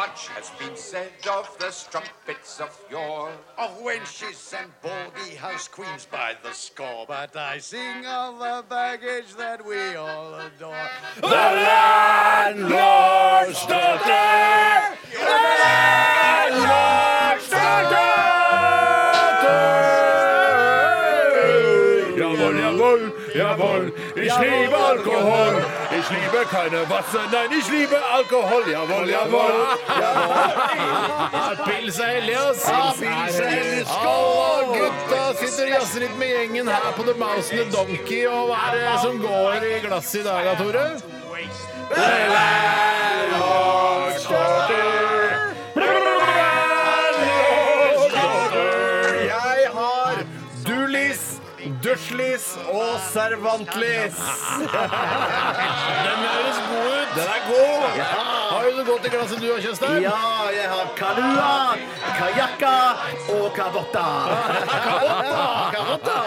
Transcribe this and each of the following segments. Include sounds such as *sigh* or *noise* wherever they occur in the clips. Much has been said of the strumpets of yore, of wenches and baldy house queens by the score. But I sing of the baggage that we all adore. Jawohl, jawohl, jawohl, ich liebe Alkohol. Ich liebe keine Wasser, nein, ich liebe Alkohol. Jawohl, jawohl, jawohl. Pils er hellig, ass. Pils er hellig. Skål, gutta. Sitter og jazzer litt med gjengen her på The Mouse and the Donkey. Og hva er det som går i glasset i dag, da, Tore? Jeg har Dulis, Dusjlis og Servantlis. Den høres god ut. Den er god. Har du det godt i glasset du har, Kjøstheim? Ja, jeg har kalua, kajakka og kavotta. Kavotta, kavotta.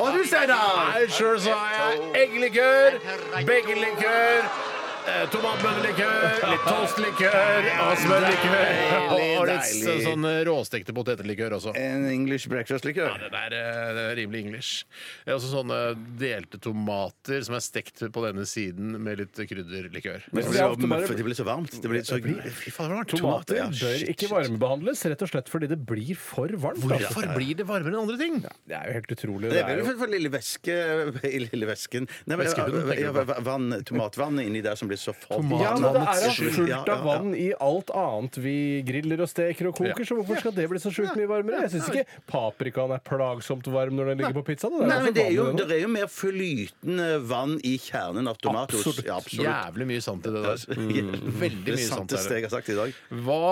Og du, Steinar? Nei, sjøl så har jeg eggelikør, beggelikør, eh, *laughs* tomatbønnelikør, litt toastlikør og smørlikør. *laughs* Og litt deilig. sånn råstekte potetlikør også. En English Ja, breakfast-likør. det der eh, det er rimelig english. Det er også sånne delte tomater som er stekt på denne siden med litt krydderlikør. Det blir så- det blir så varmt. Det blir så Fy faen, er det var varmt. Tomater, Tomater ja. bør ikke varmebehandles, rett og slett fordi det blir for varmt. altså. Hvorfor blir det varmere enn andre ting? Det er jo helt utrolig. Det Det er er vel jo for, for lille væske i lille væsken Nei, men, eh, Væskehunden, tenker ja, du på? va- vann, Tomatvann inni der som blir så formt. ja, men det er jo Ja, fullt ja, av ja. vann i alt annet vi griller og steker og koker, Ja. så hvorfor skal det bli så sjukt mye varmere? Jeg syns ikke paprikaen er plagsomt varm når den ligger på pizzaen. Nei, men det er, jo, det det er jo mer flytende vann i kjernen av tomat. hos- Absolutt. Ja, absolutt. Mm. Jævlig mye sant i det der. Mm. Veldig Det mye sant er santeste det. jeg har sagt i dag. Hva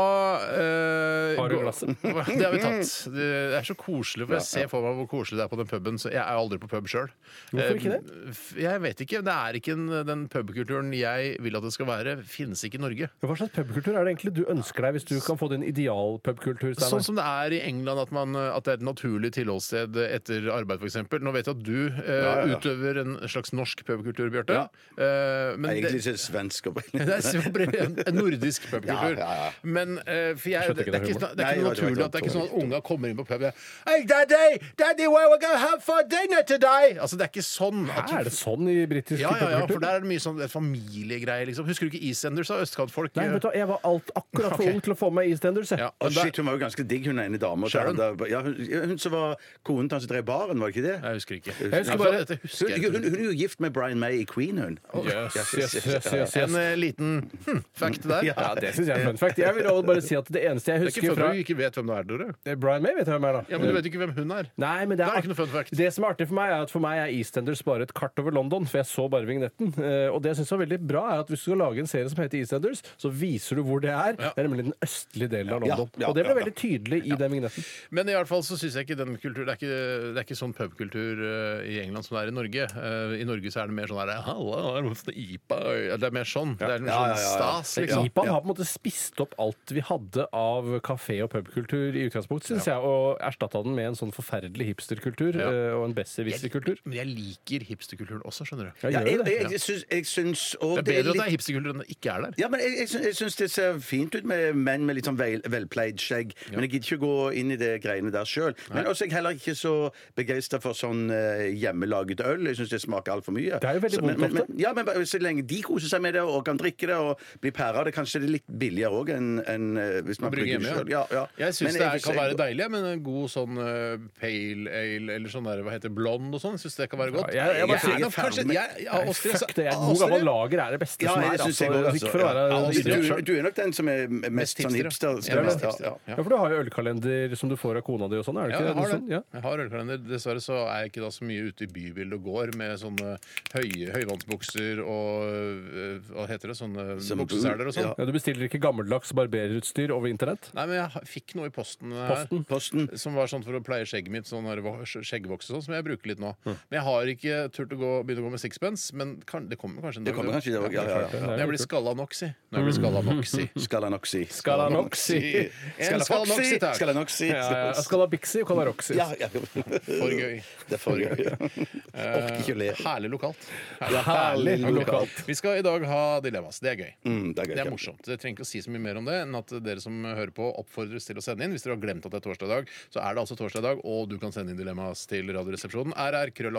eh, Har du går- glasset? *laughs* Det har vi tatt. Det er så koselig, for jeg ser for meg hvor koselig det er på den puben. Så jeg er aldri på pub sjøl. Hvorfor ikke det? Jeg vet ikke. Det er ikke en, den pubkulturen jeg vil at det skal være, finnes ikke i Norge. Hva slags pubkultur er det egentlig du ønsker deg, hvis du kan få din idealpubkultur? Sånn Steinar? som det er i England, at, man, eh, at det er et naturlig tilholdssted etter arbeid, f.eks. Nå vet jeg at du eh, utøver en slags norsk pubkultur, Bjarte. Eh, men Egentlig det, ikke svensk det *laughs* opprinnelig. er selvfølgelig en- en nordisk pubkultur. Ja, ja, ja. Men eh, for jeg, det, det, er ikke det ikke, humor. Nei, sna- det er ikke noe det var- det naturlig var- at det er ikke sånn det at unga kommer inn på pub og er, hey, daddy, daddy, what we gonna have for dinner today? Altså, det er ikke sånn. At Hæ, Er det sånn i britisk ja, ja, ja, for pubkultur? der er det mye sånn familiegreier, liksom. Husker du ikke Eastenders av østkantfolk? Nei, vet du, hva, jeg var alt akkurat for Ok. ung til å få meg Eastenders. jeg. Ja, Å, men der- shit, hun var jo ganske digg, hun ene dama. Sharon? Da- da- Ja, hun, hun som var konen til han som drev baren, var det ikke det? Jeg husker ikke. Jeg husker Nei, bare- dette Hun, husker jeg hun, hun er jo gift med Brian May i Queen, hun. Jøss, jøss, jøss, jøss, En jøss. eh, liten hm, fact der. Ja, Ja, det syns jeg er fun fact. Jeg vil også bare si at det eneste jeg Det er ikke husker fun fra at du ikke vet hvem det er, Dore. Eh, Brian May vet jeg hvem er, da. Ja, men du vet jo ikke hvem hun er. Nei, men det Da er, er det ikke noe fun fact. Det som er artig for meg, er at for meg er EastEnders bare et kart over London, for jeg så bare vignetten. Eh, Og det jeg syns var veldig bra, er at hvis du skal lage en serie som heter EastEnders, så viser du hvor det er. Det er nemlig den østlige delen av Ja, London. ja, Og det ja, ble ja. veldig tydelig i den vignetten. Men i hvert fall så syns jeg ikke den kultur, det, er ikke, det er ikke sånn pubkultur eh, i England som det er i Norge. Eh, I Norge så er det mer sånn her Halla, er det ofte IPA? Ja, Det er mer sånn. Det er mer Ja, ja, sånn ja, ja. stas, liksom. IPA har på en måte spist opp alt vi hadde av kafé- og pubkultur i utgangspunktet, syns jeg, og erstatta den med en sånn forferdelig hipsterkultur eh, og en besserwisserkultur. Men jeg liker hipsterkulturen også, skjønner du. Ja, Ja, gjør jeg, jo det. jeg, jeg syns, jeg syns og Det er bedre at det er hipsterkultur enn det ikke er der. Ja, men jeg, jeg, syns, jeg syns det ser fint ut med menn med litt sånn vel, velpleid skjegg. Men jeg gidder ikke gå inn i det greiene der sjøl. Men også er jeg heller ikke så begeistra for sånn eh, hjemmelaget øl. Jeg syns det smaker altfor mye. Det er jo veldig Så- men- vondt men- ofte. men- Ja, men bare så lenge de koser seg med det og kan drikke det og bli pæra av det, kanskje det er litt billigere òg enn enn, eh, hvis man brygger Brygge hjemme, det ja. sjøl. Ja, ja. Jeg Men syns det er, kan jeg- være deilig, men en god sånn eh, pale ale eller sånn der, hva heter det, blond og sånn, syns det kan være godt. Ja, jeg- jeg bare sier- er nok kanskje jeg, ja, Nei, Åstre, så- Fuck det, jeg, god Åstre- gammel lager er det beste Ja, som er. jeg syns jeg altså. går, altså. Ikke for å være Ja, altså, hipster. du, du er nok den som er mest sånn hipster. ja. Jeg er mest hipster, Ja, ja. ja. Ja, for du har jo ølkalender som du får av kona di og sånn, er det Ja, ikke? jeg har Noe det. sånt? Ja. Jeg har ølkalender. Dessverre så er jeg ikke da så mye ute i bybildet og går med sånne høye, høyvannsbukser og øh, hva heter det, sånne Som bukseseler og sånn. ja. Ja, du bestiller ikke gammeldags barberutstyr over internett? Nei, men jeg ha- fikk noe i posten her. Posten? Posten. Som var sånn for å pleie skjegget mitt, sånn her vo- skjeggvoks og sånn, som jeg bruker litt nå. Men jeg har ikke turt å gå, begynne å gå med sixpence, men kan, det kommer kanskje en Det dag. kommer kanskje i dag, ja, klart det. Når jeg blir skalla nok, si. Når jeg blir skalla nok, si. Scalanoxy. Scalanoxy. En skalla nok, si, takk. Scalanoxy. Ja, ja. Skalabixi og Kalaroxy. Ja, *laughs* ja. For gøy. Det er for gøy. Jeg orker ikke å le. Herlig lokalt. herlig lokalt. Vi skal i dag ha dilemmas. Det er gøy. Mm, det er gøy, Det ja. er morsomt. Jeg trenger ikke å si så mye mer om det enn at dere som hører på, oppfordres til å sende inn. Hvis dere har glemt at det er torsdag i dag, så er det altså torsdag i dag, og du kan sende inn dilemmas til Radioresepsjonen.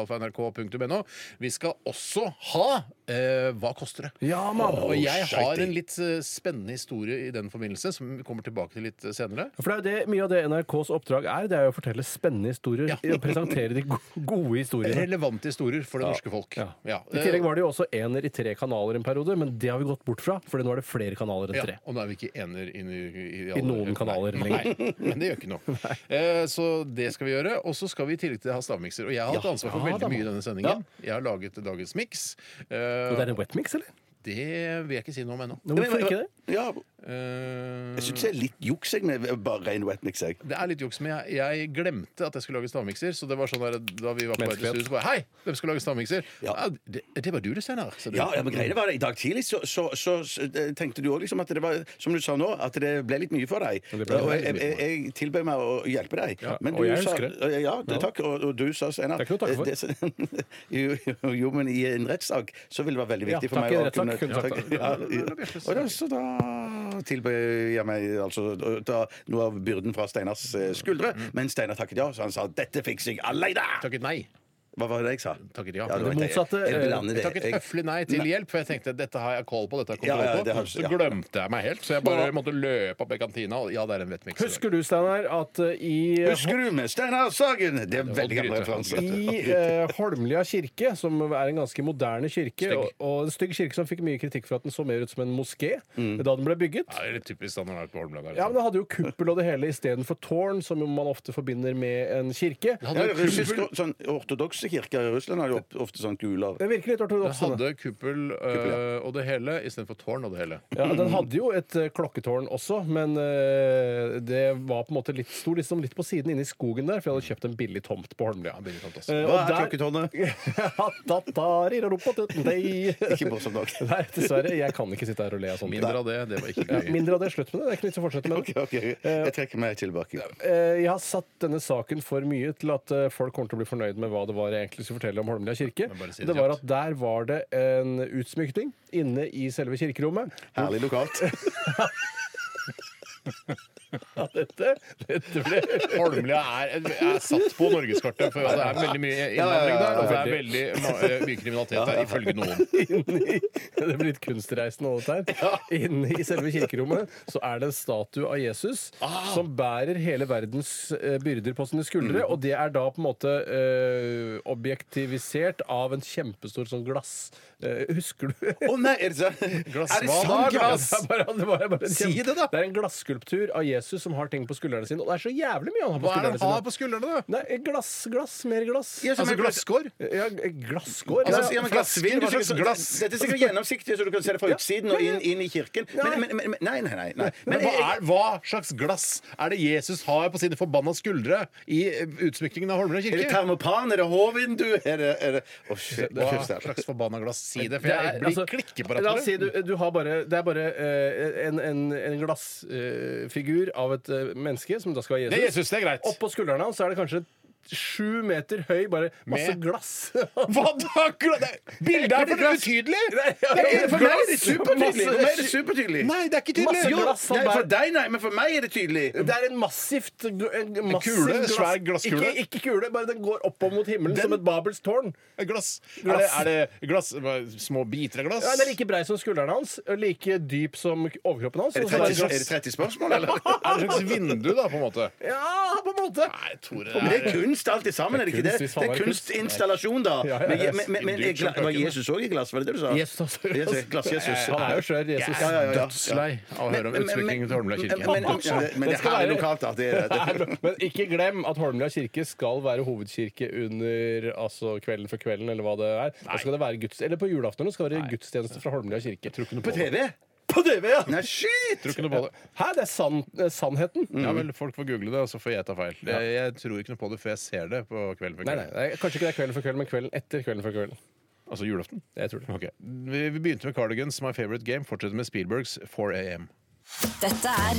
rr.krøllalfa.nrk.no. Vi skal også ha eh, Hva koster det? Ja, mann. Og jeg har en litt eh, spennende historie i den forbindelse, som vi kommer tilbake til litt eh, senere. For det er jo det, Mye av det NRKs oppdrag er, det er jo å fortelle spennende historier. Ja. Og presentere de go- gode historiene. Relevante historier for det norske folk. Ja. Ja. I tillegg var det jo også ener i tre kanaler en periode, men det har vi gått bort fra. For nå er det flere kanaler enn Ja, tre. og nå er vi ikke ener inn i, i, i, I noen kanaler Nei, lenger. Nei, men det gjør *laughs* ikke noe. Eh, så det skal vi gjøre. Og så skal vi i tillegg til ha stavmikser. Og jeg har hatt Ja, ansvar for ja da, veldig mye i denne sendingen. Ja. Jeg har laget dagens miks. Og det Eh, er en wetmix, eller? det vil jeg ikke si noe om ennå. Nå, Hvorfor ikke det? Ja, Eh, jeg syns det er litt juks, jeg, med bare ren wetmix, jeg. det er litt juks, men jeg, jeg glemte at jeg skulle lage stavmikser. Så det var sånn der, da vi var på vei til Menneskelighet. studio, så bare Hei, hvem skal lage stavmikser? Ja. Ja. det, det var du, det, Steinar. sa du. Ja, ja, men greiene var det. I dag tidlig så, så, så, så eh, tenkte du òg liksom at det var Som du sa nå, at det ble litt mye for deg. det ble og veldig jeg, mye jeg, for jeg tilbød meg å hjelpe deg. Ja, men og jeg sa, husker det. Ja, det, takk. Og, og du sa, Steinar Det er ikke noe å eh, det- *laughs* jo, jo, jo, men i en rettssak så vil det være veldig Ja, viktig for meg takk, i å en rettssak kunne du sagt det. ja, ja. Og da, så da tilbød jeg meg altså å ta noe av byrden fra Steinars eh, skuldre, Mm. men Steinar takket ja, så han sa 'dette fikser jeg aleine'! Takket nei. Hva var det jeg sa? Takket ja. det var Det jeg. motsatte, Jeg eh, blander Jeg det. takket Jeg- høflig nei til hjelp, for jeg tenkte dette har jeg koll på. dette har jeg Ja, kontroll ja, det har på. du- Så ja. glemte jeg meg helt, så jeg bare måtte løpe opp i kantina. Og ja, det er en vettmikser. Husker du, Steinar, at eh, i Husker du med Steinar Sagen? Det er en veldig gammel referanse. Oddgryte. I eh, Holmlia kirke, som er en ganske moderne kirke, Stygg. og, og en stygg kirke som fikk mye kritikk for at den så mer ut som en moské Mm. eh, da den ble bygget. Ja, det er litt typisk standard på Holmland. Ja, men Den hadde jo kuppel og det hele istedenfor tårn, som jo man ofte forbinder med en kirke. Ja, hadde russisk, kuppel, sånn Ortodokse kirker i Russland har jo opp- ofte sånn guler. Det sånn, virker litt den ortodoks. hadde kuppel øh, og det hele istedenfor tårn og det hele. Ja, den hadde jo et eh, klokketårn også, men eh, det var på en måte litt, sto liksom litt på siden inne i skogen der, for jeg hadde kjøpt en billig tomt på Holmlia. Ja, billig tomt, altså. Eh, Hva og er der- klokketårnet? *laughs* Ikke Ikke morsomt nok. *laughs* Nei, dessverre. Jeg kan ikke sitte her og le av sånt. Mindre av det. Det var ikke Ja, gøy. *laughs* mindre av det. Slutt med det. Det er ikke nytt *laughs* å fortsette med Ok, det. ok, Jeg trekker meg tilbake. Eh, Jeg har satt denne saken for mye til at eh, folk kommer til å bli fornøyd med hva det var jeg egentlig skulle fortelle om Holmlia kirke. Men bare si det Det var kjapt. at der var det en utsmykning inne i selve kirkerommet. Herlig lokalt. Ja, dette, dette ble Holmlia er, er satt på norgeskartet, for det er veldig mye innvandring der. Og det er veldig ma- øh, mye kriminalitet der, ifølge noen. inni Det blir litt kunstreisen og alt her. Inne i selve kirkerommet så er det en statue av Jesus Ah. som bærer hele verdens eh, byrder på sine skuldre, Mm. og det er da på en måte eh, objektivisert av en kjempestor sånn glass... eh, husker du? Å nei, er det sånn? Glass, Er det hva sant da, glass? Ja, det er bare- det var- det var en Si kjempe- det da. Det er en glasskulptur av Jesus som har ting på skuldrene sine, og det er så jævlig mye han har på Hva er det han skuldrene har sine. på skuldrene, da? Nei, glass, glass, mer glass. Ja, som Altså jeg- glasskår? Ja, glasskår. Ja, ja. ja, men glassvin, hva slags glass? Dette er sikkert gjennomsiktig, så du kan se det fra utsiden og inn, inn i kirken. Men, men, men, men- nei, nei, nei. nei. Men hva, jeg- er, hva slags glass er det Jesus har på sine forbanna skuldre i eh, utsmykningen av Holmlia er det kirke? termopan? Er det H-vindu? Er det, er det Å, shit. Hva shit. slags forbanna glass? Si det, for Det jeg er- blir altså, klikker på La oss si rattet. du, du har bare Det er bare eh, en, en, en glassfigur av et eh, menneske, som da skal være Jesus. Det er Jesus, det er greit. Oppå skuldrene hans så er det kanskje sju meter høy, bare masse Med- glass. *laughs* Hva da? Gla- det- Bildet er for utydelig! Det er For meg er det supertydelig! For meg er det supertydelig. Nei, det er ikke tydelig! Masse Jo, glass som nei, bærer- for deg, nei, men for meg er det tydelig. Det er en massivt en massiv kule, svær glasskule. Ikke, ikke kule, bare den går opp mot himmelen Den- som et Babels tårn. Glass. Er det, Glass. er det glass hva, Små biter av glass? Ja, den er like brei som skuldrene hans, like dyp som overkroppen hans. Er og det 30, så bare er det 30 spørsmål, eller? *laughs* *laughs* Er det et slags vindu, da, på en måte? Ja, på en måte. Nei, Tore, Men det det er er kunst alt i sammen, er det ikke det? kunst, hvis Det faen er er det kunstinstallasjon, da. Ja, ja, ja. Men, men, men, men Dyrt som gla- var kjøkken, Jesus òg i glass, var det det du sa? Jesus er også i glass. Jesus, glass Jesus. Han er jo skjør, Altså, Jesus. Ja, ja, ja, ja. dødslei av å høre Men- om men- utsmykningen til Holmlia kirke. Men, men, ja, det- men det Det er skal herlig være- lokalt, da. Det er det. Men ikke glem at Holmlia kirke skal være hovedkirke under altså Kvelden for kvelden, eller hva det er. Da skal det være guds, eller på julaften skal det være gudstjeneste fra Holmlia kirke. På TV? På TV, ja! Nei, shit! Tror ikke noe på det. Hæ, det er sann- eh, sannheten? Ja vel, folk får google det, og så får jeg ta feil. Jeg, jeg tror ikke noe på det, for jeg ser det på Kvelden for Nei, nei, kvelden. nei, kanskje ikke det er Kvelden for kvelden, men kvelden etter Kvelden for kvelden. Altså julaften? Jeg tror det. Ok. Vi, vi begynte med Cardigans My Favorite Game, fortsetter med Spielbergs 4 AM. Dette er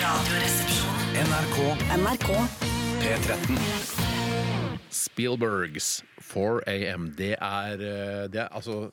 Radioresepsjonen. NRK NRK P13. Spielbergs 4 AM. Det er, eh, det er altså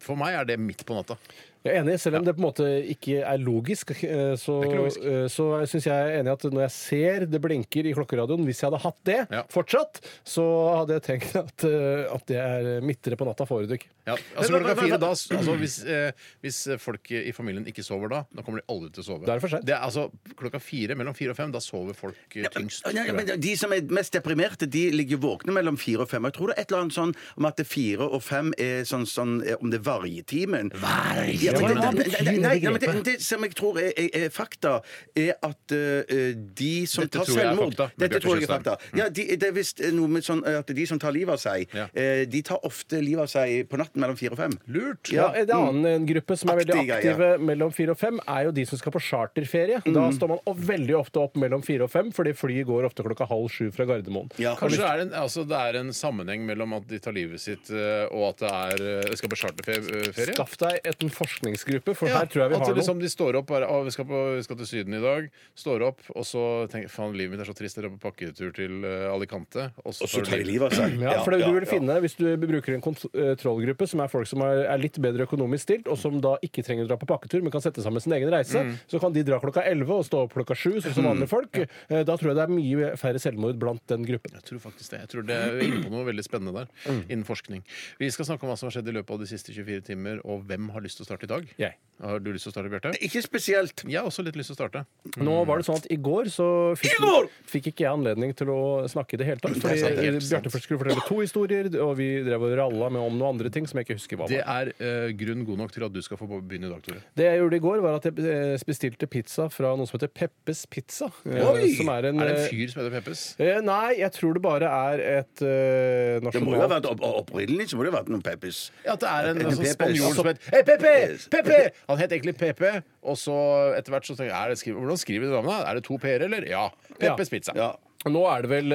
For meg er det midt på natta. Jeg er enig, selv om det på en måte ikke er logisk, eh, så, Det er ikke logisk. eh, så syns jeg er enig at når jeg ser det blinker i klokkeradioen, hvis jeg hadde hatt det Ja. fortsatt, så hadde jeg tenkt at, eh, at det er midtere på natta forrige uke. Ja, altså klokka fire da altså, hvis, eh, hvis folk i familien ikke sover da, da kommer de aldri til å sove. Da er det for sent. er altså klokka fire, mellom fire og fem, da sover folk eh, tyngst. Nei, tror jeg. men de som er mest deprimerte, de ligger våkne mellom fire og fem. Jeg tror det er et eller annet sånn om at det fire og fem er sånn, sånn eh, om det er vargetimen. Ja, men det- Hva nei, betyr nei, nei, det nei, men det, det som jeg tror er, er, er fakta, er at eh, de som Dette tar tror jeg er selvmord fakta, med Dette Bjarte tror jeg er Tjøstheim. fakta. Ja, de, det er visst noe med sånn eh, at de som tar livet av seg, Ja. eh, de tar ofte livet av seg på natten mellom fire og fem. Lurt! Ja, En annen en gruppe som er veldig Aktige, ja. aktive mellom fire og fem, er jo de som skal på charterferie. Mm. Da står man o- veldig ofte opp mellom fire og fem, fordi flyet går ofte klokka halv sju fra Gardermoen. Ja. Kanskje det er, en, altså, det er en sammenheng mellom at de tar livet sitt eh, og at det er, eh, skal på charterferie? Skaff deg et- en forskningsgruppe, for Ja, her tror jeg vi at har noe. liksom de står opp bare, «Å, vi, skal på, vi skal til Syden i dag. Står opp, og så tenker faen, livet mitt er så trist. Dere er på pakketur til eh, Alicante. Og så Så tar de livet av seg. Ja, for det ja, du vil ja. finne Hvis du bruker en kontrollgruppe som er folk som er, er litt bedre økonomisk stilt, og som da ikke trenger å dra på pakketur, men kan sette sammen sin egen reise, så kan de dra klokka 11 og stå opp klokka 7, sånn som vanlige folk. Eh, Da tror jeg det er mye færre selvmord blant den gruppen. Jeg tror faktisk det. Jeg tror det er inne på noe veldig spennende der. Mm. Innen forskning. Vi skal snakke om hva som har skjedd i løpet av de siste 24 timer, og hvem har lyst til å starte i dag? Jeg. Har du lyst til å starte, Bjarte? Ikke spesielt. Jeg har også litt lyst til å starte. Nå var det sånn at i går så fikk, går! fikk ikke jeg anledning til å snakke i det hele tatt. er Fordi sant, helt eh, sant. Bjarte først skulle fortelle to historier, og vi drev og ralla med om noen andre ting som jeg ikke husker hva var. Det er eh, grunn god nok til at du skal få begynne i dag, Tore. Det jeg gjorde i går, var at jeg eh, bestilte pizza fra noe som heter Peppes Pizza. eh, Oi! Som er en, Er det eh, en fyr som heter Peppes? Eh, nei, jeg tror det bare er et eh, Det må jo ha nasjonalt vært opp, opprinnelig så må det ha vært noen Peppers. Ja, at det er en En altså, Pepe. spanjol Altså, som heter Hei, Pepe! Yes. Pepe! Han het egentlig Pepe, og så etter hvert så tenker jeg er det skri Hvordan skriver du navnet? Er det to p-er, eller? Ja. Peppes Pizza. Ja. *laughs* Nå er det vel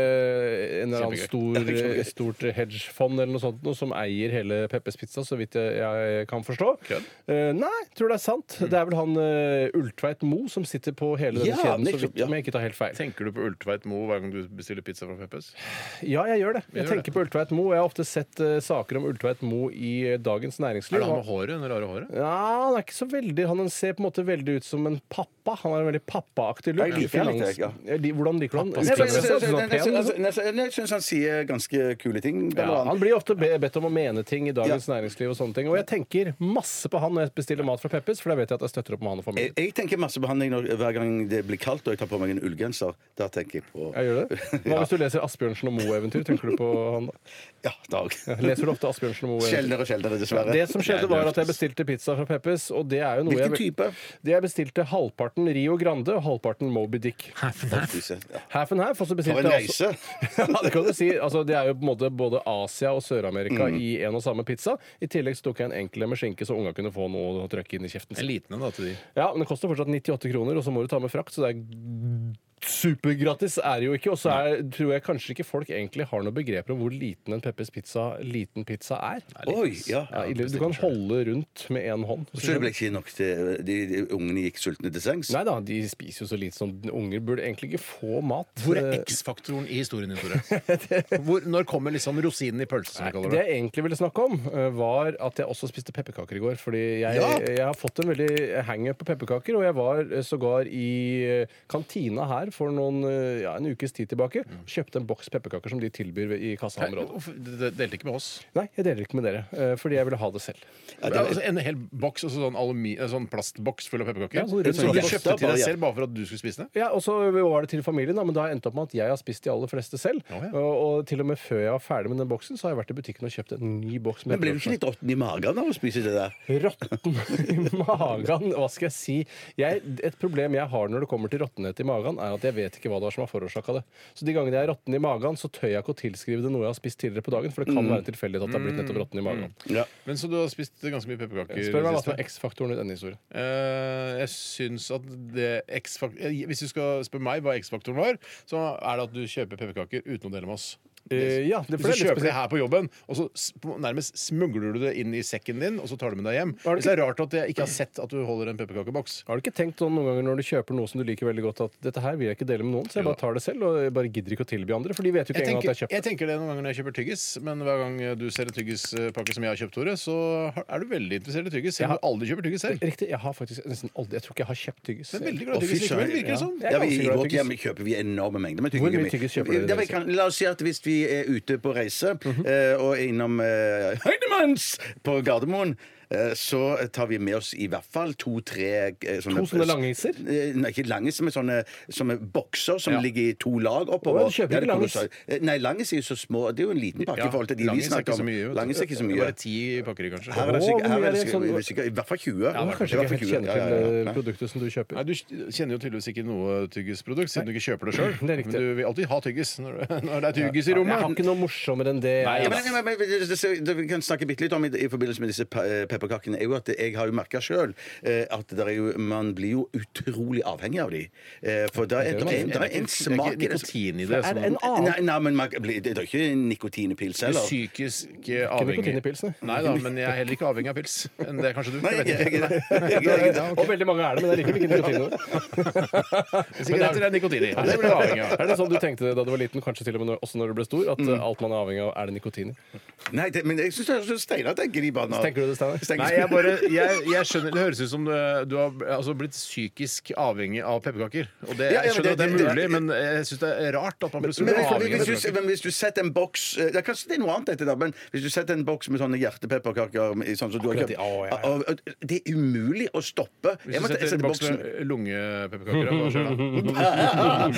eh, en eller annen Kjempegøy. stor, eh, stort hedgefond eller noe sånt noe, som eier hele Peppes Pizza, så vidt jeg, jeg kan forstå. Kødd? Eh, nei, tror det er sant. Det er vel han eh, Ultveit Mo som sitter på hele denne Ja, kjeden, så nettopp, vidt ja. om jeg ikke tar helt feil. Tenker du på Ultveit Mo hver gang du bestiller pizza fra Peppes? Ja, jeg gjør det. Jeg gjør det. tenker på Ultveit Mo. Jeg har ofte sett eh, saker om Ultveit Mo i eh, Dagens Næringsliv. Er det han med håret? Det rare håret? Ja, han Ah, er ikke så veldig Han ser på en måte veldig ut som en pappa. Han har en veldig pappaaktig look. Jeg liker han litt, jeg, ja. Ja, de- Hvordan liker du han? Jeg, jeg, jeg, Utseendemessig, sånn pen, altså, liksom? syns han sier ganske kule ting. Ja, han blir ofte be- bedt om å mene ting i Dagens Ja. Næringsliv og sånne ting. Og jeg tenker masse på han når jeg bestiller mat fra Peppers, for da vet jeg at jeg støtter opp med han og Jeg, familien. jeg tenker massebehandling når, hver gang det blir kaldt og jeg tar på meg en ullgenser. Da tenker jeg på Jeg *laughs* gjør det. Hva hvis du leser Asbjørnsen og Moe-eventyr? Tenker du på han da? Ja, Dag. Leser du ofte Asbjørnsen og Moe-eventyr? Sjeldnere og sjeldnere, dessverre. Det som skjedde var at jeg bestilte pizza fra Peppes, og det er jo noe Hvilken jeg type? Det jeg bestilte halvparten Rio Grande og halvparten Moby Dick. Ja. Half and half. Og så For bestilte en jeg reise! også *laughs* ja, det kan du si. Altså, det er jo på en måte både Asia og Sør-Amerika Mm. i en og samme pizza. I tillegg så tok jeg en enkel en med skinke, så unga kunne få noe å trøkke inn i kjeften En sin. liten en, da, til de. Ja, men det koster fortsatt 98 kroner, og så må du ta med frakt, så det er Supergratis er det jo ikke, og så er- tror jeg kanskje ikke folk egentlig har noe begreper om hvor liten en Peppers pizza, liten pizza er. Oi, ja. Ja, ille- du kan holde rundt med én hånd. hvis Så du det ble ikke nok til de, de Ungene gikk sultne til sengs? Nei da, de spiser jo så lite som unger burde egentlig ikke få mat. Hvor er Eh, X-faktoren i historien *laughs* din, Tore? Hvor, når kommer liksom rosinen i pølsa, som vi kaller Det det? jeg egentlig ville snakke om, eh, var at jeg også spiste pepperkaker i går. Fordi jeg, Ja. jeg har fått en veldig hangup på pepperkaker, og jeg var eh, sågar i eh, kantina her for noen, eh, ja, en ukes tid tilbake. Kjøpte en boks pepperkaker som de tilbyr ved- i Mm. Nei, kassaområdet. hvorfor- det- det Delte ikke med oss. Nei, jeg deler ikke med dere, eh, fordi jeg ville ha det selv. altså, en hel boks, altså sånn, alumi, eh, sånn plastboks full av pepperkaker. Ja, sånn rød som du boks. kjøpte til Bare, deg ja. selv bare for at du skulle spise det? Ja, og så var det til familien, da, men da har jeg endt opp med at jeg har spist de aller fleste selv. Å, ja. og, og til og med før jeg var ferdig med den boksen, så har jeg vært i butikken og kjøpt en ny boks. Men med ble du pepperkaker. ikke litt råtten i magen av å spise det der? Råtten *laughs* i magen, hva skal jeg si? Jeg, et problem jeg har når det kommer til råttenhet i magen, er at jeg vet ikke hva det var som har forårsaka det. Så de gangene jeg er råtten i magen, så tør jeg ikke å tilskrive det noe jeg har spist tidligere på dagen, for det kan være en tilfeldighet at det har blitt nettopp råtten i magen. Ja. Men Så du har spist ganske mye pepperkaker? Spør meg hva det som siste? er X-faktoren i denne historien. Eh, jeg syns at det X-faktor eh, Hvis du skal spørre meg hva X-faktoren var, så er det at du kjøper pepperkaker uten å dele med oss. Eh, ja, det, Hvis du for det er litt kjøper det spesielt. her på jobben, og så s- på- nærmest smugler du det inn i sekken din, og så tar du med deg hjem. Har du Hvis det er rart at jeg ikke har sett at du holder en pepperkakeboks. Har du ikke tenkt sånn noen ganger når du kjøper noe som du liker veldig godt, at dette her vil jeg ikke dele med noen, så jeg bare tar det selv og jeg bare gidder ikke å tilby andre, for de vet jo ikke Jeg engang at tenker, jeg har kjøpt jeg tenker det noen ganger når jeg kjøper tyggis, men hver gang du ser en tyggispakke som jeg har kjøpt, Tore, så har- er du veldig interessert i tyggis. Selv om du aldri kjøper tyggis selv. det. Riktig, jeg har faktisk nesten aldri Jeg tror ikke jeg har kjøpt tyggis. Men veldig selv. glad i Å, fy tyggis likevel, søren, virker det som. Jeg er Ja, vi, ganske I glad i vårt tyggis. hjem kjøper vi enorme mengder med Hvor tyggegummi. mye tyggis kjøper dere, Mhm. Det vi dere? kan, la oss si at hvis vi er ute på reise eh, og er innom eh, Høydemanns på Gardermoen, eh, så tar vi med oss i hvert fall eh, to-tre To sånne langiser? Eh, Nei, ikke langiser, men sånne, sånne bokser som Ja. ligger i to lag oppover. Å, du kjøper Ja, det ikke kommer langis? så- Eh, Nei, langis er jo så små. Det er jo en liten pakke i forhold til de vi Langis er snakker ikke om. så mye. vet du. Langis er ikke så Det er mye. Bare ti pakker, kanskje. Her er det Å, sikkert, hvor her er mye det er det sikkert, sånn- sikkert i hvert fall 20. Ja, men I kanskje hvert fall ikke helt 20. kjenner Ja, ja, ja. til eh, Nei. produktet som du kjøper. Nei, Du kjenner jo tydeligvis ikke noe tyggisprodukt, siden du ikke kjøper *clears throat* det sjøl. Det er riktig. Men du vil alltid ha tyggis når, du- når det er tyggis i Jeg har rommet. ikke noe morsommere enn det. Nei, jeg- Ja, men, men, men, men, det- det- det vi kan snakke bitte litt om i, i forbindelse med disse pe- eh, pepperkakene, er jo at jeg har jo merka sjøl at det er jo, man blir jo utrolig avhengig av de. Eh, For det er, det er, det er en smak Det er ikke nikotin i det. Er Som, det en det annen Nei, nei, men man, blir- det er ikke nikotinepils er heller. psykisk nikotin i avhengig. pilsen, nei. Nei da, men jeg er heller ikke avhengig av pils. Men det er kanskje du. Nei, Jeg jeg, jeg, vet ikke. jeg, jeg, jeg, Og veldig mange er det, men det er likevel ikke nikotin i *laughs* det. Sigaretter er nikotin i. Det blir du avhengig av. Er det sånn du tenkte det da du var liten, kanskje til og med når, også når du ble stor, at eh, alt man er avhengig av, er det nikotin i? nei det, men jeg syns det høres ut som Steinar tenker de bare nå. Tenker du det, Steinar? Steinar- Nei, jeg bare jeg, *laughs* jeg skjønner, Det høres ut som du, du har altså, blitt psykisk avhengig av pepperkaker. Og det, Ja, ja, men jeg skjønner at det det- er det- mulig, men jeg syns det er rart at man plutselig Men, blir hvis- avhengig av hvis, hvis, du, pepperkaker. men hvis du setter en boks eh, det er Kanskje det er noe annet, dette da, men hvis du setter en boks med sånne hjertepepperkaker med- sånn som du har Akkurat kjøpt de- å, ja, ja. og- og- Det er umulig å stoppe. Hvis Jeg du måtte- jeg setter setter en boks boksen med lungepepperkaker, hva skjer da?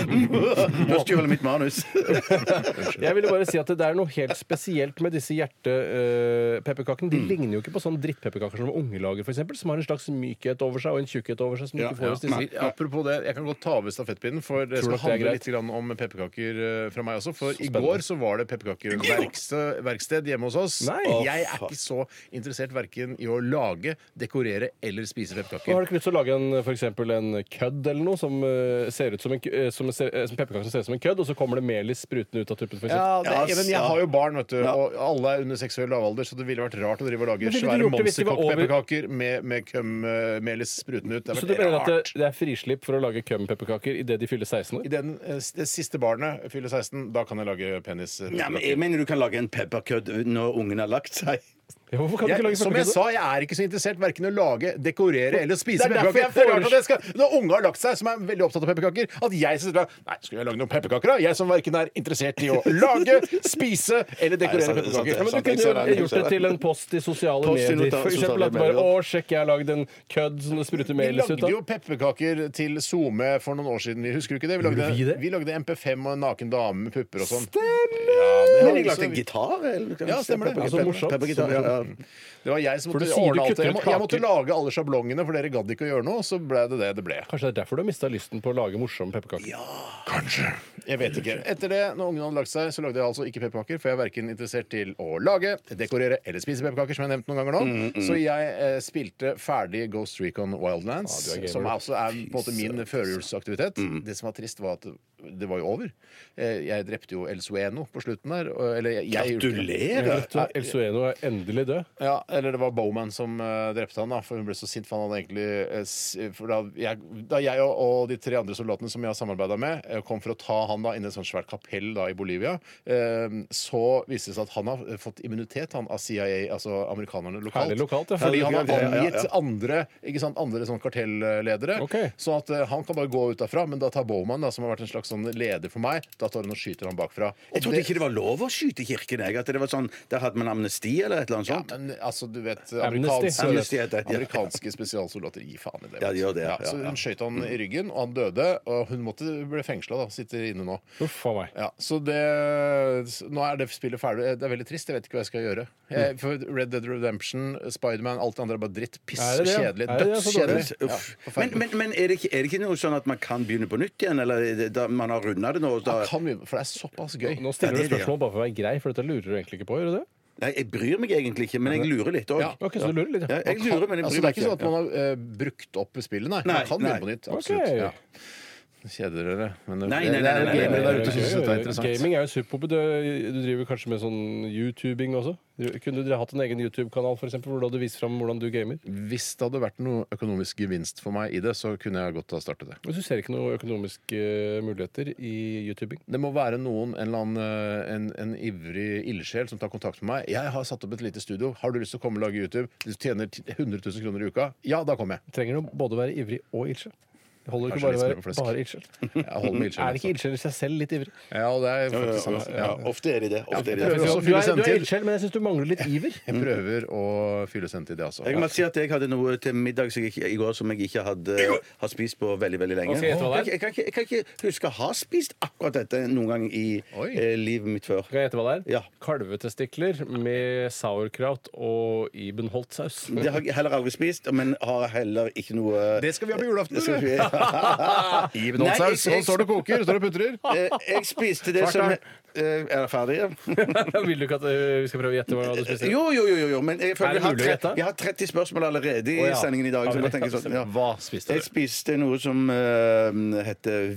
*laughs* Mm. Nå stjal jeg mitt *laughs* manus. Jeg ville bare si at det er noe helt spesielt med disse hjertepepperkakene. De ligner jo ikke på sånne drittpepperkaker som unge lager, for eksempel, som har en slags mykhet over seg og en tjukkhet over seg som du ikke får hos disse. Nei, Apropos det, jeg kan godt ta over stafettpinnen, for det skal Tror dere det er handle greit? litt grann om pepperkaker eh, fra meg også. For i spennende. går så var det pepperkakeverksted hjemme hos oss. Nei. Og Å, jeg er ikke så interessert verken i å lage, dekorere eller spise Og har pepperkaker. du ikke lyst til å lage en, for eksempel, en kødd eller noe som eh, ser ut som en, k- eh, som ser, eh, som pepperkaker som ser ut som en kødd, og så kommer det melis sprutende ut av tuppen? For eksempel. Ja, det, Ja, men jeg ja. har jo barn, vet du, Ja. og alle er under seksuell lavalder, så det ville vært rart å drive og lage Men ville du svære gjort det hvis de var over- monsterkokkpepperkaker med, med kømmelis sprutende ut. Det Så hadde du vært mener at rart. det, det er frislipp for å lage kømpepperkaker idet de fyller 16 år? I den, eh, s- det siste barnet fyller 16, da kan jeg lage penis. Ja, men jeg mener du kan lage en pepperkødd når ungen har lagt seg. Ja, hvorfor kan du ikke Jeg, lage som jeg pepperkaker? sa, jeg er ikke så interessert verken i å lage, dekorere eller spise Det er pepperkaker. derfor Det jeg er rart foreslår- at jeg skal, Når unge har lagt seg, som er veldig opptatt av pepperkaker, at jeg skal sitte der Nei, skulle jeg lage noen pepperkaker, da? Jeg som verken er interessert i å lage, spise eller dekorere Nei, det er sant, det er sant, det er Ja, pepperkaker. men du sant. kunne jeg ser den, jo jeg gjort ser det den. til en post i sosiale Post i medier. nota- For eksempel sosiale at medier, bare ja. 'Å, sjekk, jeg har lagd en kødd som det spruter Vi melis ut lagde jo av'. pepperkaker til SoMe for noen år siden. Vi Husker du ikke det? Vi lagde, Gjorde vi det? vi lagde MP5 og en naken dame med pupper og sånn. Har Stemmer! du lagd en gitar? eller? Ja, stemmer det. Mm. Pepper- Altså, morsomt. Peppergitar. Ja, ja. Det var jeg som For du måtte sier du ordne alt. kutter Jeg, må, ut jeg måtte kaker. lage alle sjablongene, for dere gadd ikke å gjøre noe. Så ble det det det ble. Kanskje det er derfor du har mista lysten på å lage morsomme pepperkaker. Kanskje. Jeg vet ikke. Etter det, når ungene hadde lagt seg, så lagde jeg altså ikke pepperkaker, for jeg er verken interessert til å lage, dekorere eller spise pepperkaker, som jeg har nevnt noen ganger nå. Mm, Så jeg eh, spilte ferdig Ghost Recon Wildlands, Ah, du er Mm. gamer, som du. også er på en måte min førjulsaktivitet. Det som var trist, var at det var jo over. Eh, jeg drepte jo El Sueno på slutten der. og- Eller jeg, jeg gjorde det. Gratulerer! Så El Sueno er endelig død. Ja, eller det var Bowman som eh, drepte han, da, for hun ble så sint. For han hadde egentlig eh, s- for da, jeg, da jeg og, og de tre andre soldatene som jeg har samarbeida med, eh, kom for å ta han da inn i et sånt svært kapell da i Bolivia, eh, så viste det seg at han har eh, fått immunitet han, av CIA, altså amerikanerne lokalt. Herlig lokalt, ja. Fordi han har Ja, ja, ja. angitt andre ikke sant, andre sånn kartelledere. Ok. Så at eh, han kan bare gå ut derfra, men da tar Bowman, da, som har vært en slags sånn leder for meg, da tar hun og skyter han bakfra. Og Jeg trodde ikke det var lov å skyte i kirken. Jeg. At det var sånn, Der hadde man amnesti eller et eller annet Ja, sånt. men altså, du vet Amnesty. Amerikanske, Amnesty heter det, ja. amerikanske spesialsoldater gir faen i det. altså. Ja, de gjør det, ja. så Ja, Mm. ja. hun skøyt han i ryggen, og han døde. Og hun måtte ble fengsla, da. Sitter inne nå. Mm. Uff a meg. Ja, så det Nå er det spillet ferdig. Det er veldig trist. Jeg vet ikke hva jeg skal gjøre. Mm. Jeg, for Red Dead Redemption, Spiderman, alt det andre er bare dritt. Piss Er det det? kjedelig. Er det det? Så dårlig. Dødskjedelig. Ja, Uff. men forferdelig. men, men er, det ikke, er det ikke noe sånn at man kan begynne på nytt igjen? Eller er det, da, man har runda det nå? Og da, Ja, kan vi, for det er såpass gøy. Nå Ja, stiller det du er det, ja. spørsmål bare for å være grei, for dette lurer du egentlig ikke på. gjør du det? Nei, jeg bryr meg egentlig ikke, men jeg lurer litt òg. Ja. Ok, så du lurer litt. Ja, ja. jeg lurer, men jeg Altså, bryr det er meg ikke sånn at ikke. man har eh, brukt opp spillet, nei. Nei, man kan begynne nei. på nytt. Ok. Absolutt. Ja. Kjeder dere? Men det, Nei, nei, nei, nei, nei, gamere nei, der nei, ute synes dette er interessant. Gaming er jo superpopulært. Du, du driver kanskje med sånn YouTubing også? Du- Kunne du hatt en egen YouTube-kanal for eksempel, hvor du hadde vist fram hvordan du gamer? Hvis det hadde vært noe økonomisk gevinst for meg i det, så kunne jeg godt ha startet det. Men du ser ikke noen økonomiske eh, muligheter i YouTubing? Det må være noen, en eller annen eh, en, en ivrig ildsjel som tar kontakt med meg. 'Jeg har satt opp et lite studio. Har du lyst til å komme og lage YouTube?' 'Du tjener 100 000 kroner i uka.' 'Ja, da kommer jeg.' Trenger du både være ivrig og ildsjel? Det holder ikke Kanskje bare å litt være smør på flesk. bare ildsjel. *laughs* Jeg *laughs* holder med ildsjelen. Er ikke ildsjel i seg selv litt ivrig? altså. Ja, det er faktisk sant. altså. Ja, Ja. ofte er de det. Ofte er de Jeg det. prøver Du også å er, du fylle er, du er sendtid. ildsjel, men jeg syns du mangler litt iver. Jeg prøver å fylle sendt i Mm. det, altså. Jeg må si at jeg hadde noe til middag som jeg, ikke- i går som jeg ikke hadde, har spist på veldig veldig lenge. Og skal jeg gjette hva det er? Jeg, jeg, kan ikke, jeg kan ikke huske å ha spist akkurat dette noen gang i Oi. eh, livet mitt før. Kan jeg gjette hva det er? Ja. Kalvetestikler med sauerkraut og Ibenholt-saus. Det har jeg heller aldri spist, men har heller ikke noe Det skal vi ha på julaften, Det skal du! vi- *laughs* Nei, jeg- Ibenholdsaus. Nå sånn står det og koker, står det og *laughs* putrer. Eh, Jeg spiste det Svart som der. Eh, Er det ferdig? ja? *laughs* *laughs* Vil du ikke at øh, vi skal prøve å gjette hva du spiser? Jo, jo, jo, jo, jo. men jeg Er føler vi det har, mulig å tre- gjette? vi har 30 spørsmål allerede i Å, ja. sendingen i dag. Så jeg, Har vi det? bare tenker sånn, ja. Hva spiste jeg du? spiste noe som eh, heter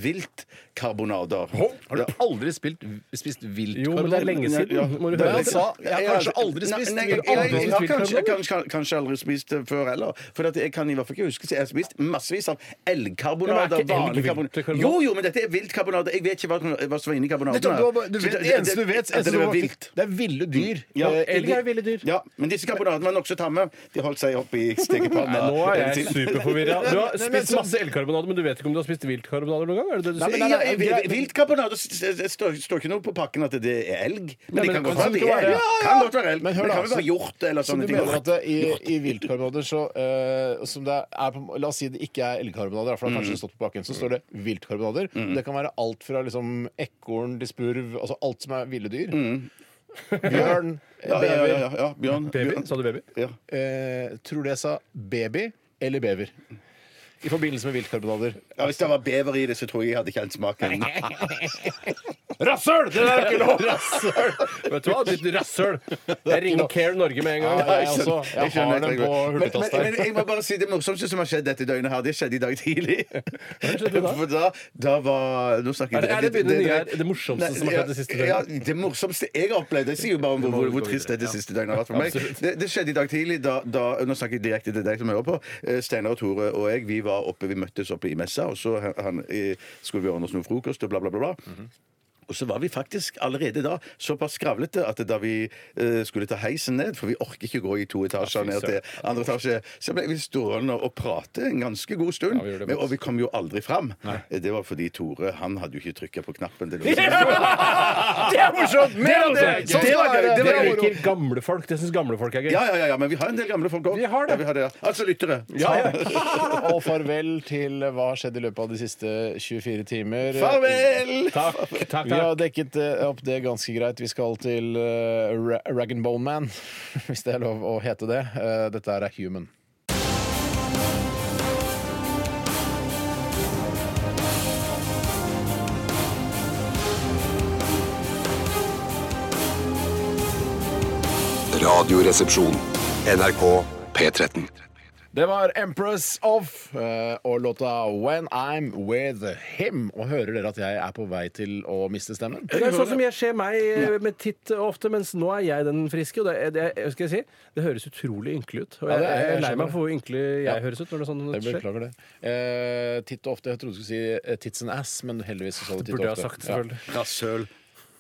viltkarbonader. Har du aldri spilt, spist vilt? Jo, men det er lenge siden. Ja. Må du Det er høre altså jeg sa. Jeg har kanskje aldri Nei, spist nei, jeg- Aldri jeg- jeg har spist kanskje- karbonader? kanskje- Kanskje aldri spist det før heller. For at jeg kan i hvert fall ikke huske så Jeg har spist massevis av Ja, men er elgkarbonader. ikke elg vanlig karbon- viltkarbonader? Jo, jo, men dette er viltkarbonader. Jeg vet ikke hva, hva som var inni karbonadene. Nettopp, du, har bare- du vet, Så det eneste du vet, at eneste det du var har- vilt. det er ville dyr. Ja. Eh, Elg er ville dyr. Ja, men disse karbonadene var nokså tamme. De holdt seg oppe i stekepanna. Nå er jeg hele tiden. superforvirra. Du har *laughs* Nei, men spist så- masse elkarbonader, men du vet ikke om du har spist viltkarbonader noen gang? Er det det du Ja, sier? men ja, vi- Viltkarbonader s- s- det står, står ikke noe på pakken at det er elg. Men men det kan det godt altså, kan være det ikke er være elg. det. Kan godt være elg. Men Men hør det da, kan vel så- være hjort eller Så du sånne ting. mener at eh, det, Sånn i, i viltkarbonader så eh, som det er på, La oss si det ikke er elgkarbonader, for da kanskje det stått på bakken. Så står det viltkarbonader. Det kan være alt fra liksom ekorn til spurv, altså alt som er ville dyr. Bjørn, Ja, ja, ja, bever. ja, ja, Bjørn. Baby? Bjørn. Sa du baby? Ja. Eh, tror du jeg sa baby eller bever? I forbindelse med *laughs* viltkarbonader. Ja, hvis det var bever i det, så tror jeg jeg hadde ikke helt smaken. *laughs* Rasshøl! Det der er *laughs* ikke lov! Rasshøl! Vet du hva? Ditt rasshøl! Jeg ringer Care Norge med en gang. Ja, jeg altså. *laughs* også. Jeg har den på Men, men, hurtigtast men der. jeg må bare si det morsomste som har skjedd dette døgnet her, det skjedde i dag tidlig. *laughs* skjedde da? For da, da var nå snakker Er det- er det begynner nye her, det morsomste Nei, som har skjedd det siste Ja, døgnet? ja, det morsomste jeg har opplevd. Det sier jo bare om hvor, hvor, hvor trist det, det siste døgnet har vært for meg. Absolutt. Det, det skjedde i dag tidlig. Da, da, nå snakker jeg direkte til deg som hører på. Eh, Steinar og Tore og jeg vi var oppe, vi møttes oppe i messa, og så han, han, eh, skulle vi ordne oss noe frokost og bla, bla, bla. bla. Og så var vi faktisk allerede da såpass skravlete at da vi eh, skulle ta heisen ned, for vi orker ikke gå i to etasjer ned til andre etasje, så ble vi stående og prate en ganske god stund. Ja, vi gjorde det men, godt. og vi kom jo aldri fram. Det var fordi Tore han hadde jo ikke trykket på knappen. *laughs* til å- Det er morsomt! Mer av det! Sånn skal det være. Det Dere var moro. liker gamle folk. Det syns gamle folk er gøy. Ja, ja, ja, ja, men vi har en del gamle folk òg. Vi har det. Ja, vi har det. ja. Altså lyttere. Og farvel til hva har skjedd i løpet av de siste 24 timer. Farvel! Takk, takk, takk. Vi har dekket eh, opp det ganske greit. Vi skal til eh, Ra Rag and Bone Man, *laughs* hvis det er lov å hete det. Eh, dette her er Human. Radioresepsjon. NRK P13. Det var Empress of eh, og låta When I'm With Him. Og hører dere at jeg er på vei til å miste stemmen? Det er jo sånn som jeg ser meg eh, med titt og ofte, mens nå er jeg den friske. Og det, er- det, er- skal jeg si, det høres utrolig ynkelig ut. Og Ja, jeg, det er- jeg, jeg er lei skjønner meg for hvor ynkelig jeg Ja. høres ut når det er sånn Jeg skjer. beklager det. Eh, titt og ofte. Jeg trodde du skulle si eh, tits and ass, men heldigvis så sa du titt og Burde jeg ha ofte. sagt, selvfølgelig. Rasshøl.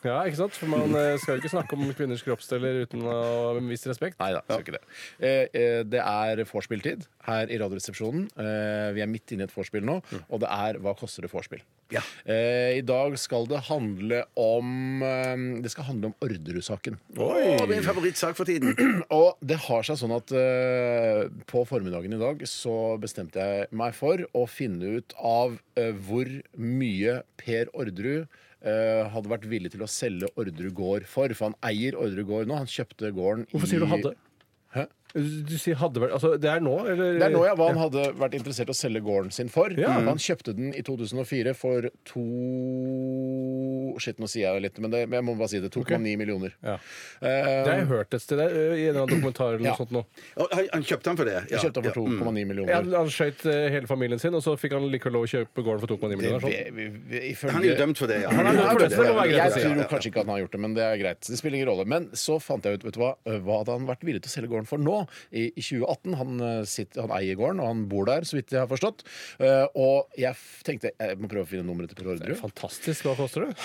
Ja. ikke sant? For man eh, skal jo ikke snakke om kvinners kroppsdeler uten å med en viss respekt. Nei da, skal ikke det. Eh, eh, det er vorspieltid her i Radioresepsjonen. Eh, vi er midt inne i et vorspiel nå, og det er Hva koster det vorspiel? Ja. Eh, I dag skal det handle om eh, Det skal handle om Orderud-saken. Å, det er en favorittsak for tiden. Og det har seg sånn at eh, på formiddagen i dag så bestemte jeg meg for å finne ut av eh, hvor mye Per Orderud eh, hadde vært villig til å selge Orderud gård for. For han eier Orderud gård nå. Han kjøpte gården Hvorfor sier du hadde? Hæ? Du sier hadde vært Altså, det er nå, eller? Det er nå ja, hva han hadde vært interessert i å selge gården sin for. Ja. Han kjøpte den i 2004 for to to Shit, nå sier jeg litt, men, det, men jeg må bare si det. 2,9 millioner. Ja. Eh, Det har jeg hørt et sted ø, i en eller annen dokumentar eller noe Ja. sånt nå. Å, han- han kjøpte den for det? Ja. jeg kjøpte den for 2,9 Ja, millioner. han skjøt ø, hele familien sin, og så fikk han likevel lov å kjøpe gården for 2,9 millioner. Vi, Sånn. vi, Han vi, er ifølge jo dømt for det, ja. er dømt for det, så det må være greit å Jeg si. tror kanskje ikke at han har gjort det, men det er greit. Det spiller ingen rolle. Men så fant jeg ut vet du hva, eh, hva hadde han vært villig til å selge gården for nå, i i 2018. Han, eh, sitter, han eier gården, og han bor der, så vidt jeg har forstått. Eh, Og jeg f- tenkte jeg må prøve å finne nummeret til Per Orderud. Fantastisk. Hva koster det?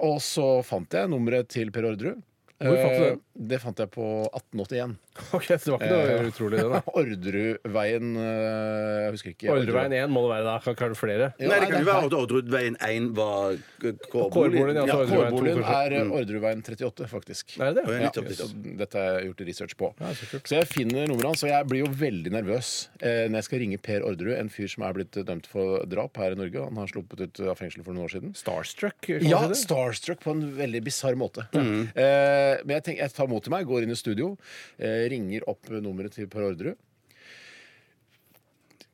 Og så fant jeg nummeret til Per Orderud. Hvor fant du det? Eh, Det fant jeg på 1881. *laughs* Ok, så Det var ikke noe Eh, utrolig, *laughs* det. da *laughs* Orderudveien eh, Jeg husker ikke. Ordreveien 1 må det være da. Kan ikke være det flere? Ja, Nei, det kan jo nei, være at Ordrudveien 1 var k- Kårboligen, ja, Ja, så Ordrudveien to, Kårboligen kanskje. Mm. er eh, Orderudveien 38, faktisk. Er det det? Å, ja, Ja, nettopp, så nettopp. dette har jeg gjort research på. så så, kult. jeg finner nummeret hans, og jeg blir jo veldig nervøs eh, når jeg skal ringe Per Orderud, en fyr som er blitt eh, dømt for drap her i Norge. Han har sluppet ut av fengselet for noen år siden. Starstruck? kan Ja, man si det? starstruck på en veldig bisarr måte. Eh, men jeg, tenker, jeg tar mot til meg, går inn i studio, eh, ringer opp nummeret til Per Orderud.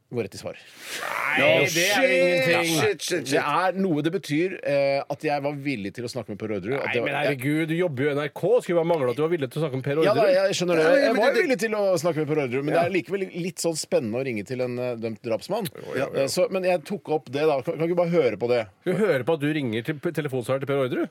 Går rett i svar. Nei, det er ingenting! uh, Shit, shit, Det shit. er noe det betyr eh, at jeg var villig til å snakke med Per Orderud. at Nei, det var- men herregud, du jobber jo i NRK. Skulle bare mangle at du var villig til å snakke med Per Ja, da, Orderud. jeg skjønner det. Ja, men- Jeg men var det- villig til å snakke med Per Orderud, men det er likevel litt sånn spennende å ringe til en eh, dømt drapsmann. Eh, Så, men jeg tok opp det, da. Kan kan ikke bare høre på det? Skal vi høre på at du ringer til p- telefonsvareren til Per Orderud?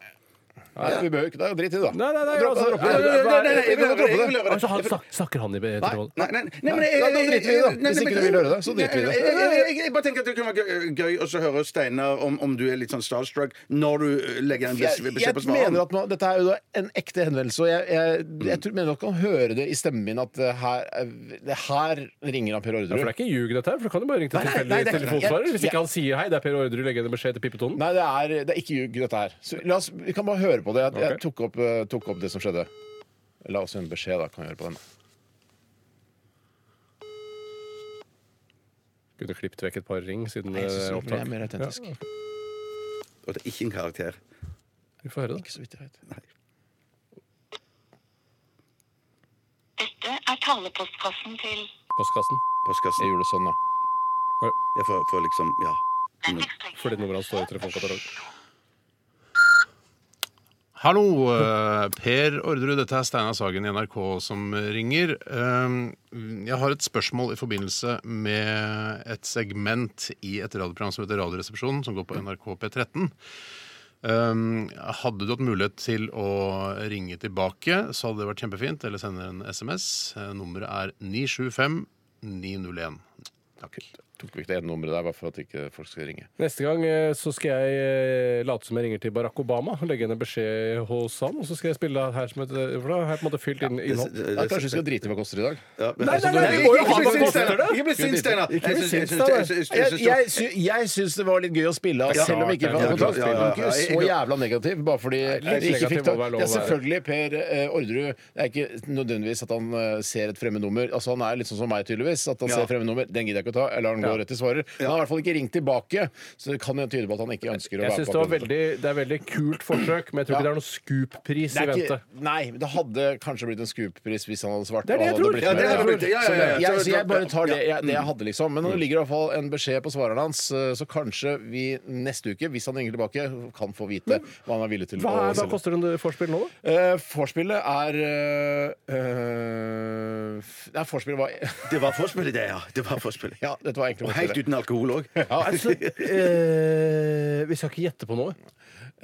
Nei, vi behøver ikke det. er jo Drit i det, da. Nei, nei, nei, Dropp- altså, dropp- nei, dropp- nei, nei, dropp- nei, nei, jeg vil høre det, jeg vil høre det. dropp- Altså, han snak, snakker han i be- telefonen? Nei, nei, nei, men Nei, da driter vi i det, da. Hvis ikke du vil høre det, så driter vi i det. Jeg, jeg, jeg, jeg bare tenker at det kunne være gøy- gøy å så høre Steinar om, om du er litt sånn starstruck når du eh, legger en bes- Jeg, beskjed jeg på mener svaren. at man, Dette er jo da en ekte henvendelse, og jeg, jeg, Mm. jeg tror, mener dere kan høre det i stemmen min at eh, her, eh, det her ringer han Per Ja, for det Orderud. er ikke ljug, dette her. For du kan jo bare ringe til Nei, nei, nei, tilfeldig det er ikke- telefonsvarer. jeg- Hvis ikke han sier hei, det er Per Orderud, legg igjen en beskjed til pippetonen. Nei, det er, det er ikke ljug, dette her. Så la oss, vi kan bare høre på det. Jeg, jeg Ok. tok, opp, eh, tok opp det som skjedde. La oss en beskjed, da. Kan vi høre på den? Kunne klippet vekk et par ring siden Nei, jeg synes eh, det ble opptak. mer autentisk. Ja, Og det er ikke en karakter. vi får høre det. Ikke så vidt jeg vet. Dette er talepostkassen til Postkassen. Jeg Postkassen. gjorde sånn, da. Jeg får, får liksom Ja. Fordi nummeret hans står i telefonkatalogen. Hallo, eh, Per Orderud. Dette er Steinar Sagen i NRK som ringer. Um, Jeg har et spørsmål i forbindelse med et segment i et radioprogram som heter Radioresepsjonen, som går på NRK P13. Um, Hadde du hatt mulighet til å ringe tilbake, så hadde det vært kjempefint. Eller sende en SMS. Eh, Nummeret er 975 901. Takk. Tok vi ikke det ene nummeret der bare for at ikke folk skal ringe. Neste gang eh, så skal jeg eh, late som jeg ringer til Barack Obama, legge igjen en beskjed hos han, og så skal jeg spille her som et eh, For da har jeg på en måte fylt inn innhold. Ja, kanskje vi skal drite i hva koster i dag? Ja, men- Altså, Nei, nei, nei, vi må jo Ikke bli ha noe sint, Steinar. koster det. Ikke bli sint, Steinar! Ikke bli Jeg syns- jeg sint, syns- jeg syns- jeg Jeg, syns- jeg, sy jeg syns det var litt gøy å spille av, Ja, selv om vi ikke fikk klart, ja, kontakt. ja, ja, Man kan ikke ja, ja. være så jævla negativ bare fordi vi ikke negativ fikk må være tak. lov å Ja, være. selvfølgelig, Per eh, Orderud. Det er ikke nødvendigvis at han eh, ser et fremmed nummer. Altså, han er litt sånn som meg, tydeligvis. At han ser fremmed nummer. Den gidder jeg ikke å ta. Jeg lar han gå rett til svarer. Men han har i hvert fall ikke ringt tilbake, så det kan jo tyde på at han ikke ønsker å Jeg være på syns det var akkurat dette. veldig, det er veldig kult forsøk, men jeg tror ikke det er noen Scoop-pris Det i er ikke, vente. nei, men det hadde kanskje blitt en Scoop-pris hvis han hadde svart. Det er det og han jeg hadde tror. blitt Ja, med. det hadde blitt- ja, ja, ja, ja. Jeg, så jeg bare tar det jeg, det jeg hadde, liksom. Men Mm. det ligger i hvert fall en beskjed på svareren hans, eh, så kanskje vi neste uke, hvis han ringer tilbake, kan få vite hva han er villig til Hva, å er, hva koster en vorspiel nå, da? Eh, Vorspielet er eh, eh, f- Nei, vorspielet var *laughs* Det var forspillet, det, ja. Det var forspillet. Ja, dette var egentlig Og helt vorspielet. uten alkohol òg. Altså, eh, vi skal ikke gjette på noe.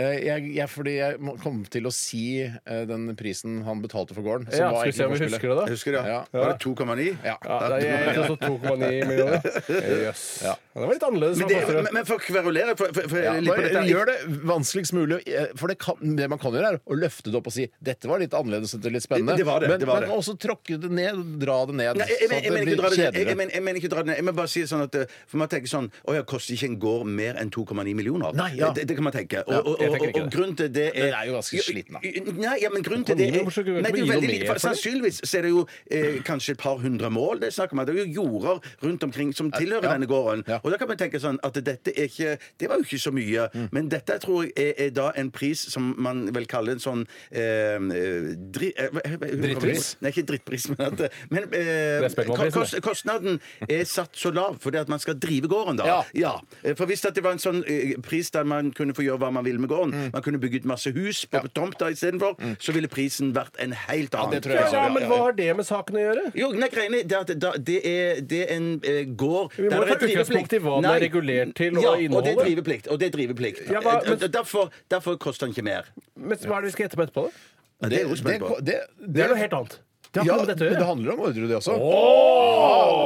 Eh, jeg, jeg, fordi jeg må- kom til å si eh, den prisen han betalte for gården. Ja, skal vi egentlig se om vi vorspielet. husker det, Jeg da. husker det. Ja. ja. Var det 2,9? Ja. Ja, det er jeg vet også 2,9 millioner. Eh, Jøs. Ja. Det var litt annerledes. Men, hva det, koster det? men, men for å kverulere for, for, for, Ja, litt på bare dette her. gjør det vanskeligst mulig. eh, For det, kan, det man kan gjøre, er å løfte det opp og si dette var litt annerledes og litt spennende. Det var det, men det var men det. også tråkke det ned, dra det ned. Nei, jeg, jeg, sånn mener- at jeg, mener ikke å blir dra det ned. jeg, jeg, kjedeligere. mener- jeg mener ikke å dra det ned. Jeg må bare si det sånn at eh, For man tenker sånn Å ja, koster ikke en gård mer enn 2,9 millioner? Nei, ja. det, det kan man tenke. Og, og, jeg og, tenker og, ikke det. grunnen til det er Den er jo ganske sliten, da. Nei, ja, men grunnen til det er Hvorfor skal du ikke Nei, det er gi jo noe veldig mer lite. For, for det? sannsynligvis så er det jo eh, kanskje et par hundre mål det er snakk om. Det er jo jorder rundt omkring som tilhører Ja. denne gården. Ja. Og da kan man tenke sånn at dette er ikke Det var jo ikke så mye. Mm. Men dette tror jeg er, er da en pris som man vel kaller en sånn eh, dri, eh, hva- hva- Drittpris? Nei, ikke drittpris, men at Men eh, Det er spennende Ko- kost, prisen, kostnaden er satt så lav fordi at man skal drive gården, da. Ja. eh, For hvis at det var en sånn eh, pris der man kunne få gjøre hva man vil med sånn. Mm. Man kunne bygget masse hus på tomta istedenfor. Så ville prisen vært en helt annen. det tror Ja, jeg ja, men hva har det med saken å gjøre? Jo, nei, greiene er at da, det, er, det er en eh, gård Vi må der det ta er driveplikt. utgangspunkt i hva den er Nei. regulert til, og ja, Og det innholdet. er driveplikt. Og det er driveplikt. Ja, hva- men- Eh, derfor, derfor koster den ikke mer. Men hva er det vi skal gjette på etterpå? da? Ja, det er jo spennende. Det er noe helt annet. Det har Ja, ikke noe med dette å men det gjøre. handler om ordrer, det også.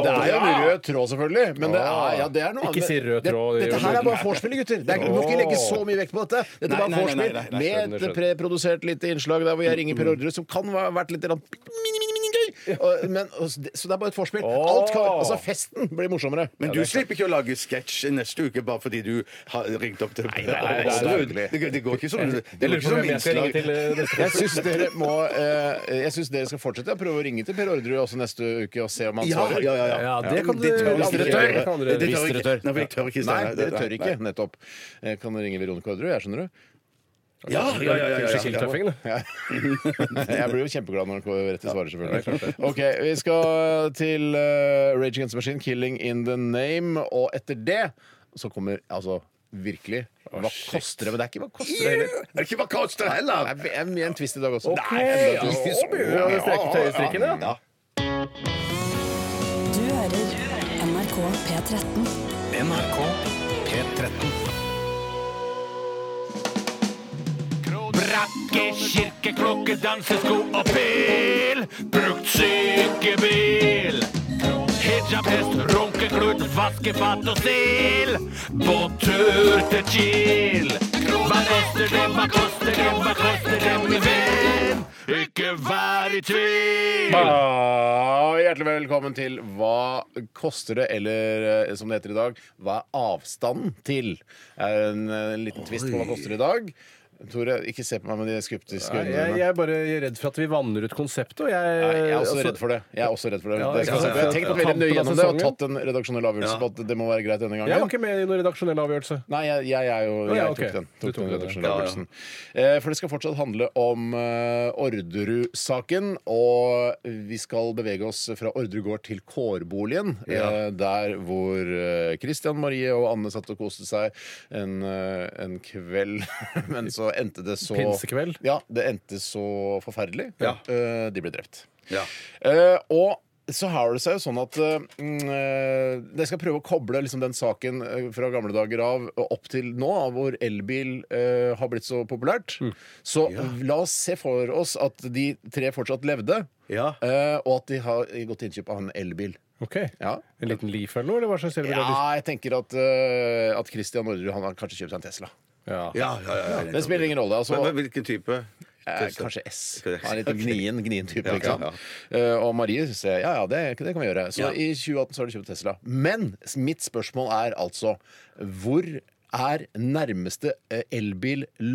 det er jo en rød tråd, selvfølgelig. Men det er, ja, det er noe Ikke si rød Det- tråd i Dette her er bare vorspielet, gutter. Det er, du må ikke legge så mye vekt på dette. Dette er bare nei, nei, nei, vorspiel nei, Mm, nei, med skjønner, et preprodusert lite innslag der hvor jeg ringer Per Ordre, som kan ha vært litt grann mini, mini, mini gøy. Og- men- og s- det- Så det er bare et vorspiel. Alt kan, altså Festen blir morsommere. Men du slipper ikke å lage sketsj neste uke bare fordi du har ringt opp til nei, det er Aasrud. Det, det går ikke som det går lurer ikke på som hvem jeg skal ringe innslag. til eh, neste Jeg syns dere, må, eh, jeg synes dere skal fortsette å prøve å ringe til Per Ordre også neste uke og se om han Ja, svarer. ja, ja, ja. Ja, det kan du Det tør Hvis dere vi ikke tør. gjøre. Det Det Hvis tør vi dere ikke. tør. Nei, for jeg tør ikke, Nei, Steinar. dere tør ikke. Nei. Nettopp. Jeg kan ringe Veronica Ordre, jeg, skjønner du. Ja, ja, ja, ja, ja, ja. Skiltøffing, da. *laughs* Jeg blir jo kjempeglad når han rett i svaret, selvfølgelig. Ok, Vi skal til eh, Rage Against the Machine, 'Killing in the Name', og etter det så kommer altså virkelig Hva koster det? Men det er ikke hva koster det heller. Det er ikke hva koster heller! Det er mye en twist i dag også. Ok, Nei, enda en ja, twist. å, begynner du å strekke tøyestrikken, ja? Du hører NRK P13. NRK P13. Brakke, kirke, klokke, dansesko og pil. Brukt sykebil. Hijab, hest, runkeklut, vaskefat og stil. Båttur til Kiel. Hva koster det, hva koster det, hva koster det, min venn? Ikke vær i tvil. Ah, hjertelig velkommen til Hva koster det, eller eh, som det heter i dag, Hva er avstanden til? Er en, eh, liten twist på hva koster det i dag. Tore, ikke se på meg med de skeptiske Nei, øynene. Jeg, jeg er bare redd for at vi vanner ut konseptet. Og jeg, Nei, jeg er også altså- redd for det. Jeg er også redd for det. Ja, det skal ja, jeg si. ja, jeg har tenkt ja. veldig nøye gjennom det og Tampen av sesongen. tatt en redaksjonell avgjørelse på at det må være greit denne Jeg var gangen. ikke med i noen redaksjonell avgjørelse. Nei, jeg, jeg er jo Å, Jeg ja, tok ok. den. Du Tok tok den den, ja. redaksjonelle avgjørelsen. Eh, For det skal fortsatt handle om eh, Orderud-saken, og vi skal bevege oss fra Orderud gård til Kårboligen, eh, der hvor eh, Christian Marie og Anne satt og koste seg en, eh, en kveld, *laughs* men så endte det så Pinsekveld? Ja, det endte så forferdelig. Ja. Eh, De ble drept. Ja. Eh, og så har det seg jo sånn at eh, mm, eh, jeg skal prøve å koble liksom, den saken eh, fra gamle dager av og opp til nå, av hvor elbil eh, har blitt så populært. Så la oss se for oss at de tre fortsatt levde, Ja. eh, og at de har gått til innkjøp av en elbil. Ok, Ja. En liten Leaf eller noe? Eller hva slags elbil er det? Ja, jeg tenker at, eh, at Christian Orderud han har kanskje kjøpt seg en Tesla. Ja. Ja, ja, ja, ja. Det spiller ingen rolle. altså Men Hvilken type? Eh, Tesla. kanskje S. Kanskje S. Han er litt gnien, gnien type. Ja, ikke sant? ja, Eh, og Marie sier ja, ja, det, det kan vi gjøre. Så i 2018 så har de kjøpt Tesla. Men s- mitt spørsmål er altså hvor er nærmeste eh,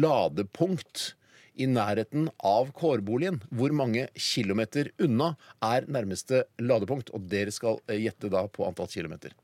elbil-ladepunkt? I nærheten av kårboligen. Hvor mange kilometer unna er nærmeste ladepunkt? Og dere skal eh, gjette da på antall kilometer.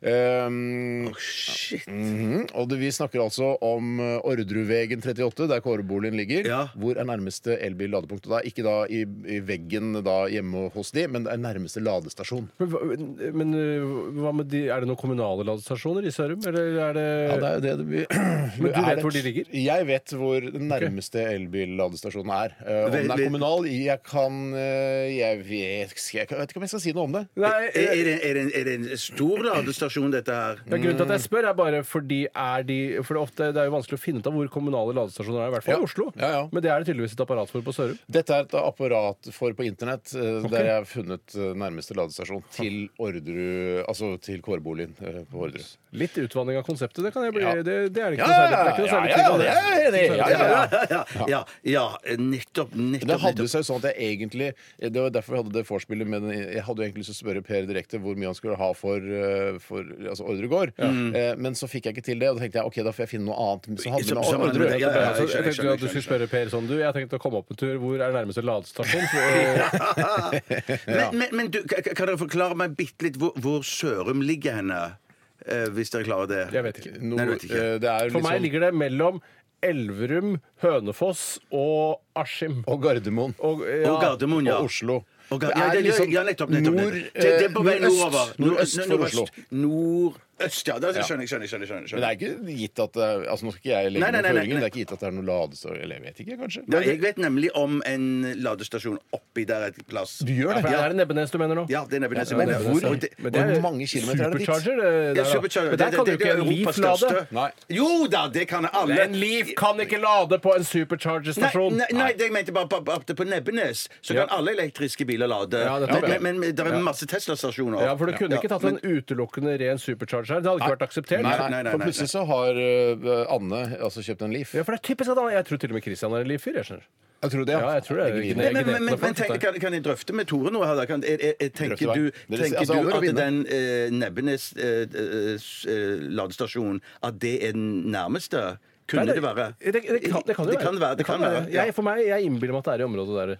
Um, Shit. Mhm, Og det, vi snakker altså om eh, Orderudvegen 38, der kåreboligen ligger. Ja. Hvor er nærmeste elbil-ladepunkt? Og da Ikke da i, i veggen da hjemme hos de, men det er nærmeste ladestasjon. Men, hva- men uh, hva med de, er det noen kommunale ladestasjoner i Sørum? Eller er det, Ja, det er jo det det *clears throat* blir. Men du Er vet det- hvor de ligger? Jeg vet hvor den nærmeste elbilladestasjonen er. Eh, om den Veldig- er kommunal, jeg kan eh, Jeg vet, jeg vet ikke om jeg skal si noe om det. Nei, Er, er, det, er, det en, er det en stor ladestasjon, dette her? Ja, grunnen til at jeg spør, er bare fordi er de For det, er ofte, det er jo vanskelig å finne ut av hvor kommunale ladestasjoner er, i hvert fall Ja. i Oslo. Ja, ja. Men det er det tydeligvis et apparat for på Sørum. Dette er et apparat for på internett eh, der jeg har funnet eh, nærmeste ladestasjon til Orderud Altså til kårboligen eh, på Orderud. Litt utvanning av konseptet, det kan jeg bli Ja. det, det er det Ja, ikke ja, noe særlig, det er ikke noe ja, særlig ja, tvil om det det. er jeg enig i. Ja, ja, ja. Ja, ja, ja, ja, nettopp, nettopp. Men det *laughs* hadde nettopp. seg sånn at jeg egentlig Det var derfor vi hadde det vorspielet, men jeg hadde jo egentlig lyst til å spørre Per direkte hvor mye han skulle ha for, eh, for altså Ordregård. Eh, Men så fikk jeg ikke til det, og da tenkte jeg ok, da får jeg finne noe annet som handler Som- med som- Orderud. Ja, ja, ja, Altså, jeg skjønner, jeg tenkte skjønner, at du skulle skjønner. spørre Per sånn, du, jeg tenkte å komme opp en tur. Hvor er nærmeste ladestasjon? *laughs* Så, eh, Men, men, men du, kan kan dere forklare meg bitte litt hvor, hvor Sørum ligger henne? Eh, hvis dere klarer det. Jeg vet ikke. Noe- Nei, du vet ikke. eh, det er For meg liksom ligger det mellom Elverum, Hønefoss og Askim. Og Gardermoen. Og, eh, Og Gardermoen, ja. Og Oslo. liksom liksom Og Gar- ja, ja, ja, ja, nettopp, nettopp, nettopp. nord, eh, eh, Det, det er på vei nordøst, nordover. nordøst for Oslo. Nord øst, ja. Det skjønner jeg. skjønner jeg, skjønner jeg, skjønner jeg, Men det skjønner er jeg. ikke gitt at det er- altså Nå skal ikke jeg legge Nei, nei, noen nei, nei, føringer. nei. Det er ikke gitt at det er noe ladestasjon Eller jeg vet ikke, kanskje. Nei, jeg vet nemlig om en ladestasjon oppi der et plass. Du gjør det? Ja, Er det Nebbenes du mener nå? ja det er Nebbenes. Men Nebbenes, hvor, ja. og det- men det er hvor mange kilometer er det dit? Supercharger, det Ja, der, da. supercharger. Men der Det- kan det- du det ikke er en Europas Leaf lade. største. Nei. Jo da, det kan alle. En Leaf kan ikke lade på en Supercharger-stasjon! Nei, nei, nei, det jeg mente bare på- på, på Nebbenes. Så Ja. kan alle elektriske biler lade. Ja, det tror men, jeg. men, men det er masse Tesla-stasjoner. Ja, for du kunne ikke tatt en utelukkende ren Supercharger her. Det hadde ikke vært akseptert. Nei, nei, nei, nei, For nei. plutselig så har eh, Anne altså kjøpt en Leaf. Ja, for det er typisk at han, Jeg tror til og med Christian er en Leaf-fyr. jeg skjønner. Jeg tror det, Ja, jeg tror det. Jeg Nei, griner. Men, ikke men, men, det. men tenk, kan, kan jeg drøfte med Tore noe her? da? Kan, er, er, er, Drøfte tenker hver. du, Dere- tenker altså, alle du at vinner. den eh, Nebbenes eh, eh, s- eh, ladestasjonen At det er den nærmeste? Kunne Nei, det være? Det, det, kan, det kan jo Det kan være. Det kan være. Ja. Jeg, for meg, jeg innbiller meg at det er i området der.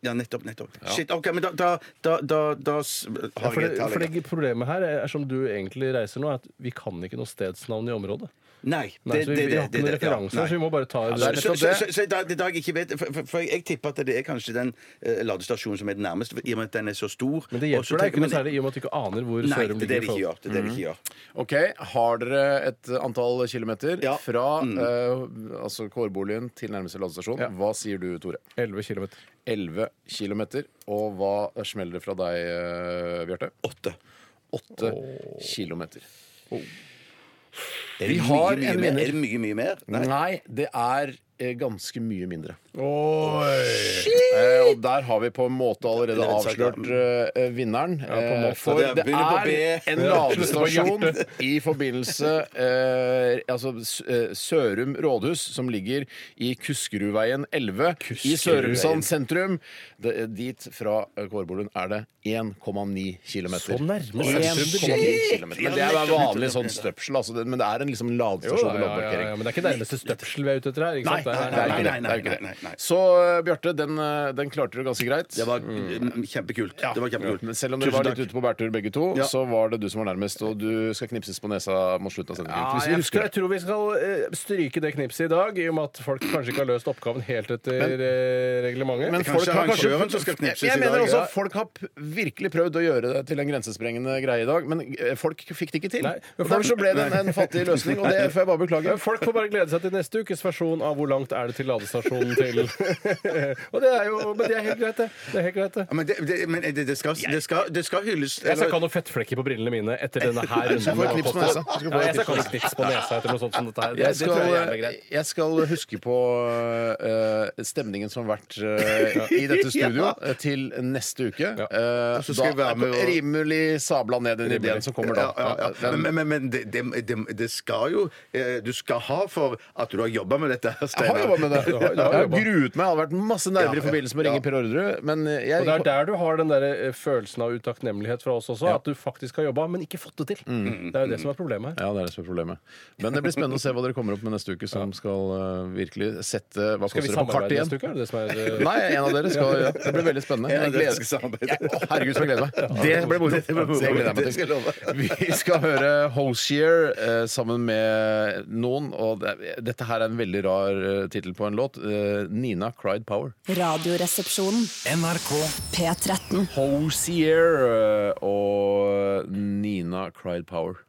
Ja, nettopp. nettopp. Shit, ok, men da, da, da, da, da s- har For jeg et det, tall. for jeg. det Problemet her er, som du egentlig reiser nå, er at vi kan ikke noe stedsnavn i området. Nei, Nei, det, så vi, det, vi det, har ikke det, noen det, ja, referanser, nei. så vi må bare ta det. det er Så, nettopp så, det. så, så, da, det da jeg ikke vet, for, for, for jeg tipper at det er kanskje den eh, ladestasjonen som er den nærmeste, for- i og med at den er så stor. Men det Og så hjelper deg tenker ikke noe man- særlig i og med at du ikke aner hvor Nei, det er Sørum det de ikke ligger. gjør. Det er det de ikke Mm. gjør. OK, har dere et antall kilometer Ja. fra eh, altså kårboligen til nærmeste ladestasjon? Ja. Hva sier du, Tore? 11 km. 11 kilometer. Og hva smeller det fra deg, eh, Bjarte? Åtte. 8 kilometer. Er Vi det har mye, mye en mer? vinner. Er det mye, mye mer? Nei, det er eh, ganske mye mindre. Oi! Eh, og der har vi på en måte allerede Det er en sak, avslørt eh, vinneren. en måte. Eh, for Det er- det begynner på er B. en *laughs* ladestasjon i forbindelse eh, altså, S- eh, Sørum rådhus, som ligger i Kuskerudveien 11 i Sørumsand sentrum. Det, dit fra eh, Kårboligen er det 1,9 km. Så nærme sentrum 1,9 km. du Men det er bare vanlig sånn støpsel. Altså, det, men det er en liksom ladestasjon og ja, ja, ja, loddemarkering. ja, men det er ikke nærmeste støpsel vi er ute etter her. Ikke Nei, sant? Det er- det er ikke det. nei, det, er ikke det. nei, nei, nei. Så eh, Bjarte, den, eh, den klarte du ganske greit. Det var mm, kjempekult. Det var kjempekult. Men selv om dere Tusen var litt takk. ute på bærtur begge to, Ja. så var det du som var nærmest, og du skal knipses på nesa mot slutten av sendingen. Ja, Hvis vi jeg, husker jeg tror vi skal eh, stryke det knipset i dag, i og med at folk kanskje ikke har løst oppgaven helt etter eh, reglementet. Men Det er kanskje arrangøren som skal knipses jeg, jeg i mener dag, også ja. at folk har p- virkelig prøvd å gjøre det til en grensesprengende greie i dag, men eh, folk fikk det ikke til. Nei. Og Derfor så ble det en, en fattig løsning, og det får jeg bare beklage. Men Folk får bare glede seg til neste ukes versjon av hvor langt er det til ladestasjonen *laughs* til Og det er jo Men det er helt greit, det. det, er helt greit, det. Ja, Men, det, det, men det, det, skal, det, skal, det skal hylles. Jeg skal ikke ha noen fettflekker på brillene mine etter denne her Du skal få et runden. knips på nesa. Du skal få Nei, et jeg skal knips på nesa. ikke ha noe knips på nesa etter noe sånt som dette her. Det, Jeg det tror jeg er skal, jævlig greit. jeg skal huske på eh, stemningen som har vært *laughs* eh, i dette studio eh, til neste uke. Ja. Eh, så skal jeg da være med og- rimelig sabla ned den ideen som kommer da. Ja, ja, ja. Men, men, men det, det, det, det skal jo eh, Du skal ha for at du har jobba med dette. her, Jeg har Steinar. jobba med det. har- *laughs* du har Jeg har jobbet. gruet meg. Jeg har vært masse nerver i Ja, forbindelse med å ringe Per Orderud. Men eh, jeg, Og det er der du har den der eh, følelsen av utakknemlighet fra oss også. At du faktisk har jobba, men ikke fått det til. Mm. Det er jo det som er problemet her. Ja, det er det som er problemet. Men det blir spennende å se hva dere kommer opp med neste uke, som skal eh, virkelig sette hva Skal vi koster det på samarbeide kartet igjen. neste uke? Er eh, det det som er Nei, en av dere skal ja. Det blir veldig spennende. En av Jeg dere gleder skal samarbeide. Jeg- Å, Herregud, så jeg gleder meg. Det blir moro. Det gleder jeg meg Det skal jeg love. til. Vi skal høre Hoshier eh, sammen med noen, og det, dette her er en veldig rar eh, tittel på en låt. Eh, Nina Cried Power. Radioresepsjonen. NRK P13. Hosier eh, og Nina Cried Power.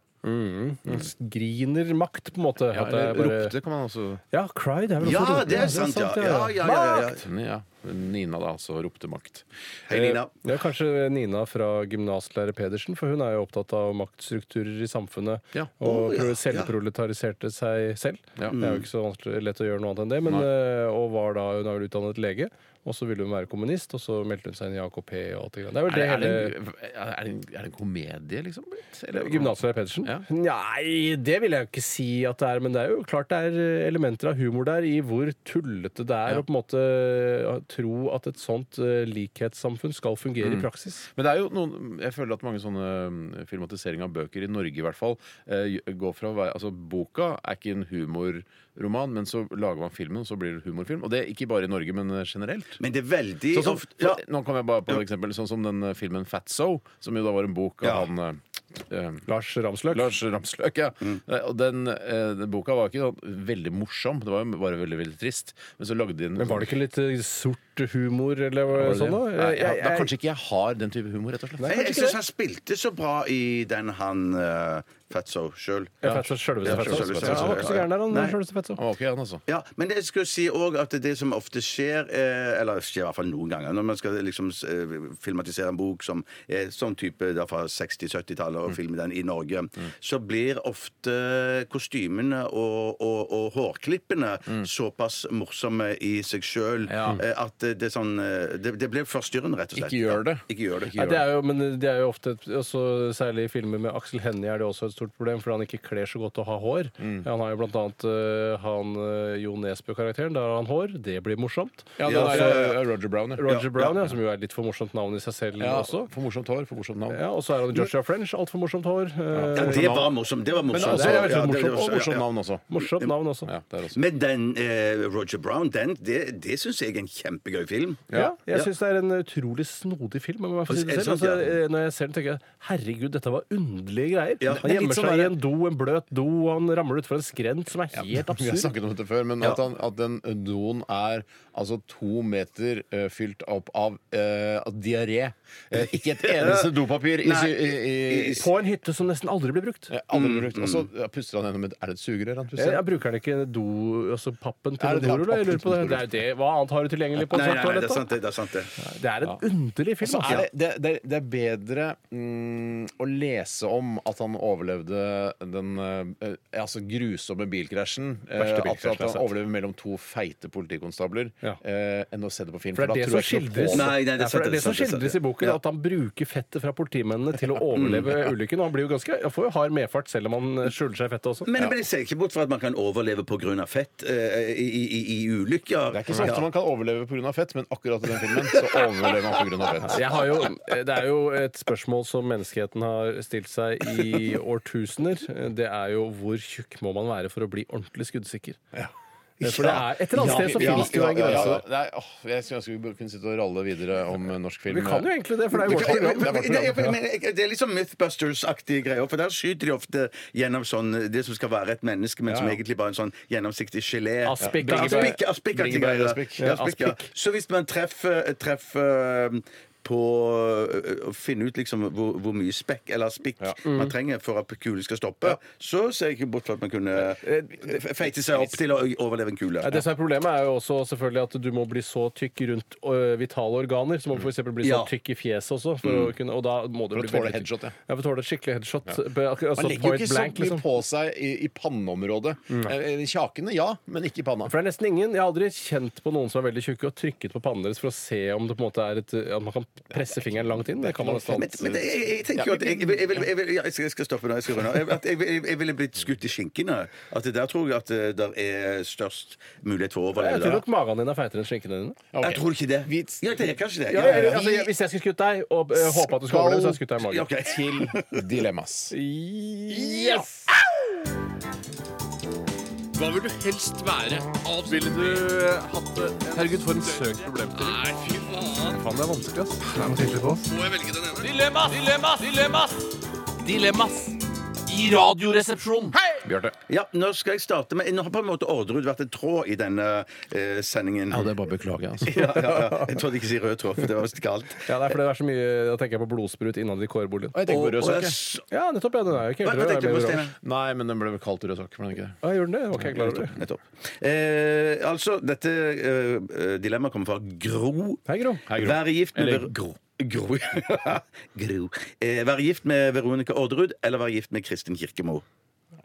griner makt, på en måte? Ja, At det er bare- ropte kan man også Ja, cried er vel Ja, også rope. det er sant! Ja, ja, ja, ja, ja, ja. Ja, Nina da, altså ropte makt. Hei, Nina. Ja, kanskje Nina fra gymnaslærer Pedersen, for hun er jo opptatt av maktstrukturer i samfunnet. Ja. Å, Og ja, ja. pro- selvproletariserte seg selv. Ja. Det er jo ikke så vanskelig, lett å gjøre noe annet enn det. Men, eh, og var da, hun er vel utdannet lege, og så ville hun være kommunist, og så meldte hun seg inn i AKP og alt det greiene. Det er vel Er det, er, det det, hele en, er, det en, er det en komedie, liksom? blitt? Eller- Gymnaslærer Pedersen? Ja. Nei, det vil jeg jo ikke si at det er. Men det er jo klart det er eh, elementer av humor der i hvor tullete det er Ja. å på en måte eh, tro at et sånt eh, likhetssamfunn skal fungere Mm. i praksis. Men det er jo noen, jeg føler at mange sånne mm, filmatiseringer av bøker, i Norge i hvert fall, eh, går fra å være Altså, boka er ikke en humorroman, men så lager man filmen, og så blir det humorfilm. Og det er ikke bare i Norge, men eh, generelt. Men det er veldig Sånn som, ofte ja. Nå kom jeg bare på et eksempel. Sånn som den eh, filmen Fatso, som jo da var en bok av Ja. han eh, eh, Lars Ramsløk. Lars Ramsløk, ja. Eh, Og den, eh, den boka var ikke sånn veldig morsom, det var jo bare veldig veldig trist. Men så lagde de en Men var det ikke litt eh, sort bartehumor eller hva- sånn noe? Nei, Jeg- jeg- da kanskje ikke jeg har den type humor, rett og slett. Jeg, jeg syns han spilte så bra i den han uh, Fatso sjøl. Ja, Fatso, sjølveste Fatso. Ja, han var ikke så gæren der, han sjølveste Fatso. Han var ikke han, altså. Ja, men jeg skulle si også at det som ofte skjer, eh, eller skjer i hvert fall noen ganger, når man skal liksom eh, filmatisere en bok som er sånn type da fra 60-70-tallet Mm. og filme den i Norge, så blir ofte kostymene og, og, og hårklippene såpass morsomme i seg sjøl Mm. Ja. eh, at det er sånn eh, det, det blir forstyrrende, rett og slett. Ikke gjør det. Ikke gjør det. Nei, det er jo, men det er jo ofte et, også, Særlig i filmer med Aksel Hennie er det også et stort problem, fordi han ikke kler så godt å ha hår. Mm. Han har jo blant annet øh, han øh, Jo Nesbø-karakteren. Da har han hår. Det blir morsomt. Ja, Ja, det så- er eh, Roger Brown, ja. Roger Brown, ja, som jo er litt for morsomt navn i seg selv ja. også. For morsomt hår, for morsomt navn. Ja, og så er han Joshua French. Altfor morsomt hår. øh, Ja, det var morsomt. Det var Men morsomt. altså, det er Ja, veldig det- det var- morsomt, og ja, morsomt ja. navn også. morsomt navn også. Ja, det er også. Men den eh, Roger Brown, den, det, det syns jeg er en kjempegøy film. Ja, jeg Ja. syns det er en utrolig snodig film. om Jeg må få si det Er det selv. sant, ja? Altså, eh, når jeg ser den, tenker jeg herregud, dette var underlige greier. Ja, han det er gjemmer litt sånn seg i der- en do, en bløt do, og han ramler utfor en skrent som er *laughs* helt Vi har absurd. snakket om dette før, men at, han, at den doen er altså to meter eh, fylt opp av eh, av diaré. Eh, ikke *laughs* et eneste dopapir i, Nei. sy- i, i, i, På en hytte som nesten aldri blir brukt. Eh, aldri brukt. Og så ja, puster han gjennom et Er det et sugerør han puster? Jeg, jeg bruker den ikke do, altså pappen til Er det det? Dodorull? Jeg lurer på det. Pappen til det, er jo det. Hva annet har du tilgjengelig på Nei, nei, nei, det er toalettet? sant, det. det, er sant, det. Det er en underlig film. Så altså. er det, det, det, det er bedre mm, å lese om at han overlevde den eh, altså grusomme bilkrasjen. eh, Verste at, bilkrasjen jeg at har han sett. overlever mellom to feite politikonstabler, Ja. eh, enn å se det på film. For det da er det som tror jeg ikke noe skildres på det. Nei, nei, det er Ja, for sant, det er det det er som sant, det er sant, skildres i boken, at han bruker fettet fra politimennene til å overleve ulykken. Og han blir jo ganske, han får jo hard medfart selv om han skjuler seg i fettet også. Men, men jeg ser ikke bort fra at man kan overleve pga. fett eh, i, i, i- i ulykker. Det er ikke så ofte man kan overleve pga. fett, men akkurat i den filmen så overlever man pga. fett. Altså, Jeg har jo, eh, det er jo et spørsmål som menneskeheten har stilt seg i årtusener. Det er jo hvor tjukk må man være for å bli ordentlig skuddsikker? Eh, For det er et eller annet sted så Ja, finnes det jo altså. en ja, ja, grense. ja. Nei, åh, jeg skulle ønske vi kunne sitte og ralle videre om eh, norsk film. Vi kan jo egentlig det, for det er jo vårt Men- program. men- Det er vårt program, men- men- men- Det er liksom Mythbusters-aktige greier. For der skyter de ofte gjennom sånn det som skal være et menneske, men som Ja, ja. egentlig bare er en sånn gjennomsiktig gelé. Aspik, Ja. bringebær. Aspik, aspikaktige Bringebær, greier. aspik. Ja, aspik, ja. Aspik. Så hvis man treffer, treffer eh, på eh, å finne ut liksom hvor, hvor mye spekk eller spikk man trenger for at kulen skal stoppe, så ser jeg ikke bort fra at man kunne eh, feite seg opp til å overleve en kule. Ja, det som er Problemet er jo også selvfølgelig at du må bli så tykk rundt ø, vitale organer. Så må du for eksempel bli så Ja. tykk i fjeset også. For å kunne, og da må du Mm. For å bli tåle veldig tykk. headshot, ja. ja for å tåle et skikkelig headshot. Be- ak- Altså, Man legger jo point ikke så blank, mye liksom. Mm. på seg i, i panneområdet. Eh, Kjakene, ja, men ikke i panna. For det er nesten ingen, Jeg har aldri kjent på noen som er veldig tjukke og trykket på pannen deres for å se om det på en måte er et, at man kan presse fingeren langt inn. Det kan man nesten Men, men det, jeg, jeg tenker jo at jeg, jeg, vil- jeg, vil- jeg, vil- ja, jeg, skal, jeg skal stoppe nå. Jeg skal runde av. Jeg- at Jeg, jeg, jeg ville blitt skutt i skinkene. At det der tror jeg at eh, der er størst mulighet for å Jeg overleve. tror da. nok magen din er feitere enn skinkene dine. Ok. Jeg tror ikke det. Ja, det er kanskje det. Ja, Ja, ja, ja. altså, jeg- hvis jeg skulle skutt deg og ø, håpe at du skulle Skal- overleve, så hadde jeg skutt deg i Ja, magen. ok. Til dilemmas. Yes! Hva vil du helst være? Ville du hatt det? Herregud, for en søk problemstilling. Nei, fy faen. Faen, det er vanskelig, ass. Må jeg velge den ene? Dilemmas! Dilemmas! Dilemmas! Dilemmas! I radioresepsjonen. Hei! Bjarte. Ja, nå skal jeg starte med Nå har på en måte Orderud vært en tråd i denne eh, sendingen. det er bare å beklage, altså. *laughs* Ja, ja, ja. Jeg trodde ikke si rød tråd, for det var visst galt. Ja, det er fordi det er så mye, Da tenker jeg på blodsprut innad i kårboligen. Og jeg tenker på Og- rød og sokk. jeg jeg. s- Ja, nettopp. ja, Den er jo ikke Hva helt hva rød. tenkte du den på, er mer Steinar? oransje. Nei, men den ble vel kalt rød sokk. ble den ikke det? Ja, gjorde den det? Ok, jeg klarer over det. Nettopp. Eh, altså, dette eh, dilemmaet kommer fra Gro. Hei, Gro. Være gift med Eller Ver- Gro. *laughs* Gro. Eh, være gift med Veronica Orderud eller være gift med Kristin Kirkemo?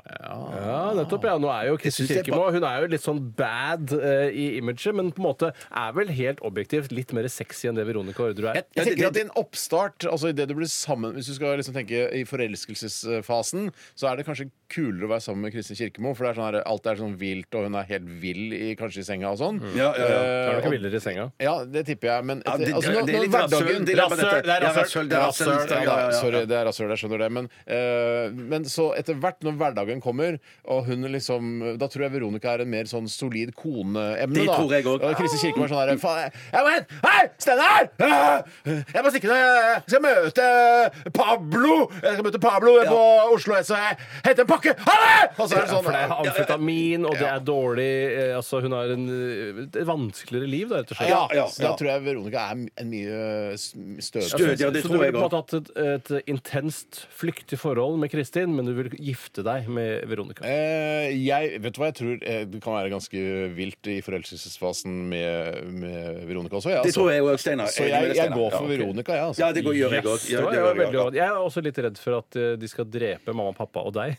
Ja, nettopp. ja. Nå er jo Kristin Jeg synes det er Kirkemo Hun er jo litt sånn bad eh, i imaget, men på en måte er vel helt objektivt litt mer sexy enn det Veronica Orderud er. Jeg, jeg tenker at i en oppstart, altså i det du blir sammen Hvis du skal liksom tenke i forelskelsesfasen, så er det kanskje kulere å være sammen med Kristin Kirkemo, for det er sånn her, alt er sånn vilt, og hun er helt vill i, kanskje i senga og sånn. Ja, ja, ja. Da er du Eh, ikke og- villere i senga. Ja, det tipper jeg, men Ja, det- altså, det- nå- det er nå- litt hverdagen rasshøl, det er bare Rasshøl, dette. det er Ja, rasshøl, rasshøl! det er rasshøl. Ja, Ja, ja, da, ja. Sorry, det er rasshøl, jeg skjønner det. Men, eh, men så etter hvert, når hverdagen kommer, og hun liksom Da tror jeg Veronica er en mer sånn solid koneemne, Det da. tror jeg også. Og Kristin Kirkemo er sånn her Faen, jeg- jeg må hen- Hei, Steinar! Ah, Jeg må stikke ned. Jeg skal møte Pablo! Jeg skal møte Pablo på Oslo S, og jeg henter en pakke tilbake! Ha det! Og så er det sånn, for det er ja, amfetamin, og det er dårlig eh, Altså, hun har en, eh, et vanskeligere liv, da, rett og slett. Ja, så da tror jeg Veronica er en mye stødigere Stødig, ja, det så tror du ville jeg på en også. måte hatt et, et intenst flyktig forhold med Kristin, men du vil gifte deg med Veronica. Eh, jeg, vet du hva jeg tror eh, det kan være ganske vilt i forelskelsesfasen med, med Veronica også. jeg, Det altså. tror jeg òg, Steinar. Så jeg, jeg går for Veronica, jeg. Altså. Ja, det går, gjør jeg òg. Det var jo veldig rart. Jeg er også litt redd for at eh, de skal drepe mamma, pappa og deg *laughs*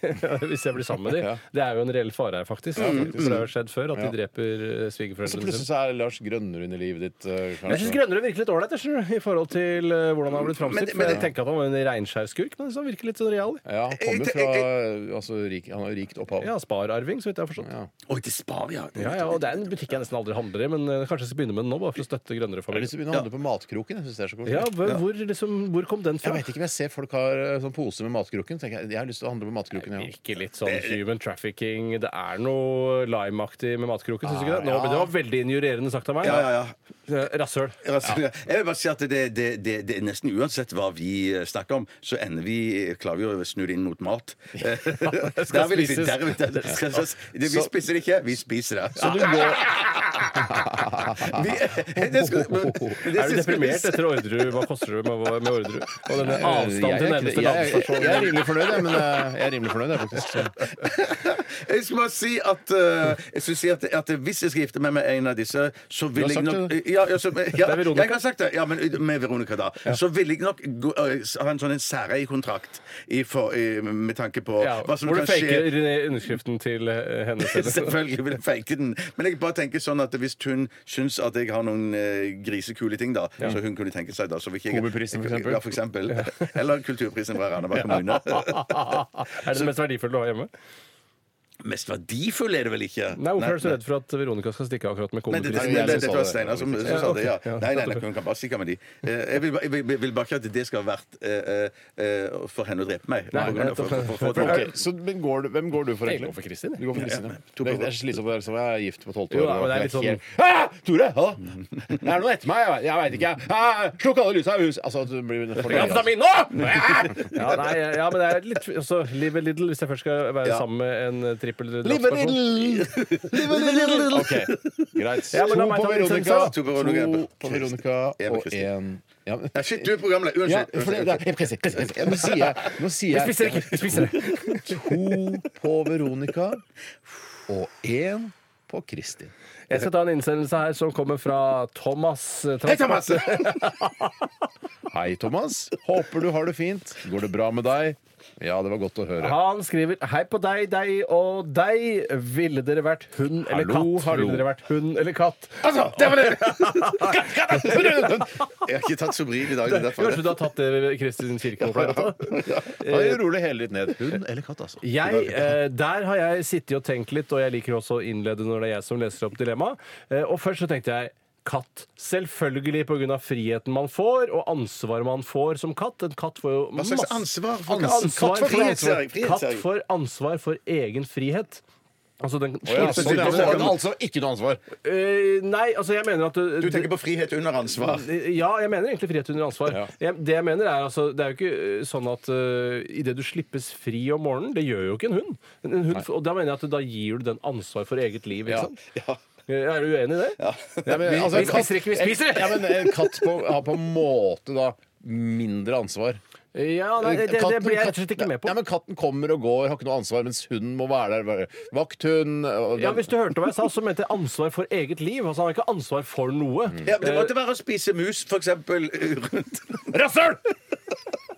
hvis jeg blir sammen med dem. Ja. Mm. Det er jo en reell fare her, faktisk. For det har jo skjedd før at de dreper eh, Så svigerforeldrene plutselig sine. så er Lars Grønnerud i livet ditt. eh, Men Jeg syns kanskje. Grønnerud virker litt ålreit jeg skjønner, i forhold til eh, hvordan han har blitt Men- framstilt. men- For Jeg tenker at han var en reinskjærskurk, men han virker litt sånn real. Ja, han kommer Jeg- fra jeg- altså, rik, Han har jo rikt opphav. Ja, Spararving, så vidt jeg har forstått. Oi, det sparer vi, ja. Ja, ja, og Det er en butikk jeg nesten aldri handler i, men eh, kanskje jeg skal begynne med den nå, bare for å støtte Jeg har Grønnerud-familien. lyst til å begynne å handle på Matkroken. Jeg synes det er så koselig. Ja, hvor, hvor, liksom, hvor kom den Jeg fra? vet ikke, men jeg ser folk har eh, sånn pose med matkroken. tenker Jeg, jeg har lyst til å handle på matkroken. Ja. Virker litt sånn human trafficking. Det er noe lime-aktig med matkroken, syns du Ah, ikke det? Nå, Det var veldig injurerende sagt av meg. Ja, ja, ja. Eh, Rasshøl. Altså, Jeg vil bare si at det, det, det, det er nesten uansett hva vi eh, snakker om, så ender vi eh, klarer vi å snu det inn mot *laughs* mat. *laughs* Der vil jeg si- spises. der vil jeg- det skal spises. Det- Vi spiser det ikke, vi spiser det. *laughs* Så du går *laughs* det skal, men- men det Er du skal- deprimert etter Orderud? Hva koster det med, med Orderud? Og denne Eh, Jeg avstanden er til ikke det. nærmeste Jeg er- landestasjon? jeg er rimelig fornøyd, jeg, men eh, jeg er rimelig fornøyd, jeg, faktisk. Så. *laughs* Jeg skal bare si at, eh, jeg skulle si at, at hvis jeg skal gifte meg med en av disse, så vil har jeg sagt nok det. ja, ja, så, ja, er Veronica. Jeg har sagt det, ja, men eh, med Veronica, da. Så vil jeg nok gå, eh, ha en sånn en særeiekontrakt i for- i- med tanke på Ja, hva som hvor kan du *laughs* skje. faker eh, underskriften til eh, henne selv. Selvfølgelig vil jeg fake den. Men jeg bare tenker sånn at hvis hun syns at jeg har noen eh, grisekule ting, da, så hun kunne tenke seg da, så vil ikke jeg Komiprisen, for eksempel. Ja, for eksempel. *laughs* Eller Kulturprisen fra Randaberg kommune. *laughs* er det det mest verdifulle du har hjemme? *laughs* Mest verdifull er det vel ikke? Nei, Hvorfor er du så redd for at Veronica skal stikke akkurat med Nei, det, det, komiprisen? det, det, som var sa det. Steinar som, som sa det, ja. Nei, nei, nei, hun kan bare stikke med de. Eh, Jeg vil, ba- jeg vil, vil bare ikke at det skal ha vært eh, eh, for henne å drepe meg. Nei, På grunn av- nettopp. for- for- for- for- Ok, så men går du, Hvem går du for, Jeg egentlig? går for Kristin, jeg. Du går for Kristin, ja. to Det er- på- det er så slitsomt å være som jeg er gift på tolvte år. Jo da, men det er litt sånn- ah, Tore! Ha det! Det er noe etter meg! Jeg, jeg veit ikke. jeg. Ah, slukk alle lysa i huset! Altså, at du blir Amfetamin nå! Ja, nei, ja, men det er litt altså, Live little hvis jeg først skal være Ja. sammen med en eh, trippel Live a drapsperson. little! Live a little! OK, greit. Ja, men to la meg på ta litt Veronica, sensor, da. to To på på Veronica En på og Kristin. én ja, men- Nei, Shit, du er programleder. ja, Unnskyld. for det, det er- Kristin, Kristin, Kristin. Nå sier jeg, nå sier jeg Spiser ikke! Spiser ikke. to på Veronica og én på Kristin. Jeg skal ta en innsendelse her som kommer fra Thomas. eh, Hei, Thomas! *laughs* Hei, Thomas. Håper du har det fint. Går det bra med deg? Ja, det var godt å høre. Han skriver Hei på deg, deg og deg. Ville dere vært hund eller katt? Hallo, hallo. Ville dere vært hund eller katt? Altså, det var det! Han Jeg har ikke tatt Sobril i dag. det er derfor Kanskje det. du har tatt det Kristin Kirkevold pleier å ta? roer det hele litt ned. Hund eller katt, altså. Jeg, eh, der har jeg sittet og tenkt litt, og jeg liker også å innlede når det er jeg som leser opp dilemmaet. Eh, og først så tenkte jeg katt. Selvfølgelig pga. friheten man får, og ansvaret man får som katt. En katt får jo Hva masse slags ansvar? for- Ansvar Katt for frihet, ser jeg. Frihet, ser Katt jeg. får ansvar for egen frihet. Altså den Ja, sånn, ja, men Eh, så har han altså ikke noe ansvar. Nei, altså jeg mener at Du tenker på frihet under *laughs* ansvar. Mm, eh, ja, jeg mener egentlig frihet under ansvar. Ja. Jeg, det jeg mener er altså, Det er jo ikke eh, sånn at uh, idet du slippes fri om morgenen Det gjør jo ikke en hund. En, en hund og da mener jeg at da gir du den ansvar for eget liv. Ikke Ja. sant? Eh, Er du uenig i det? Ja, men, altså, vi en katt- spiser ikke, vi spiser! Ja, men en katt på, har på en måte da mindre ansvar. Ja, nei, det, det, det Katten- blir jeg rett og slett ikke med på. Nei, men Katten kommer og går, har ikke noe ansvar, mens hunden må være der. Vakthund og- Ja, Hvis du hørte hva jeg sa, så mente jeg ansvar for eget liv. Altså, Han har ikke ansvar for noe. Mm. Ja, men det måtte være å spise mus, for eksempel, eh, rundt Rasshøl! *laughs*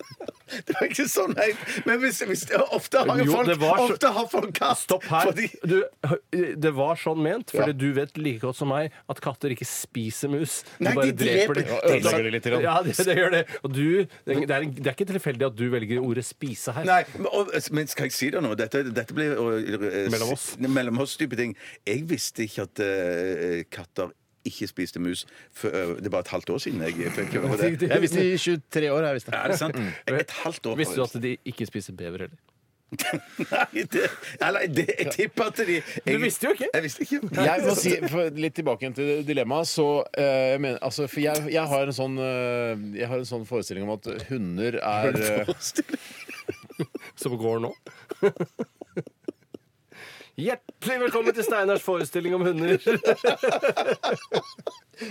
Det var ikke sånn, nei. Men hvis, hvis, ofte har jo Jo, folk, det var så- ofte har folk katt. Stopp her. Fordi, Du, hø- det var sånn ment, fordi du vet like godt som meg at katter ikke spiser mus. De Nei, de dreper- de. Ja, ødelegger de litt, grann. Ja, det, det gjør det. Og du, det er, det er ikke tilfeldig at du velger ordet 'spise' her. Nei, men, og, men skal jeg si det nå? Dette, dette blir eh, Mellom oss. Mellom oss type ting. Jeg visste ikke at eh, katter ikke spiste mus. For, eh, det er bare et halvt år siden jeg fikk høre det. Jeg visste i 23 år. Jeg visste. Er det sant? Et halvt år. Mm. Visste du at de ikke spiser bever heller? Nei, det, eller, det, jeg tipper at de jeg- visste jo ikke. Jeg visste ikke. Jeg må si, for Litt tilbake igjen til dilemmaet. Så, eh, jeg, mener, altså, for jeg, jeg, har en sånn, eh, jeg har en sånn forestilling om at hunder er eh, Som går nå? *laughs* Hjertelig velkommen til Steinars forestilling om hunder.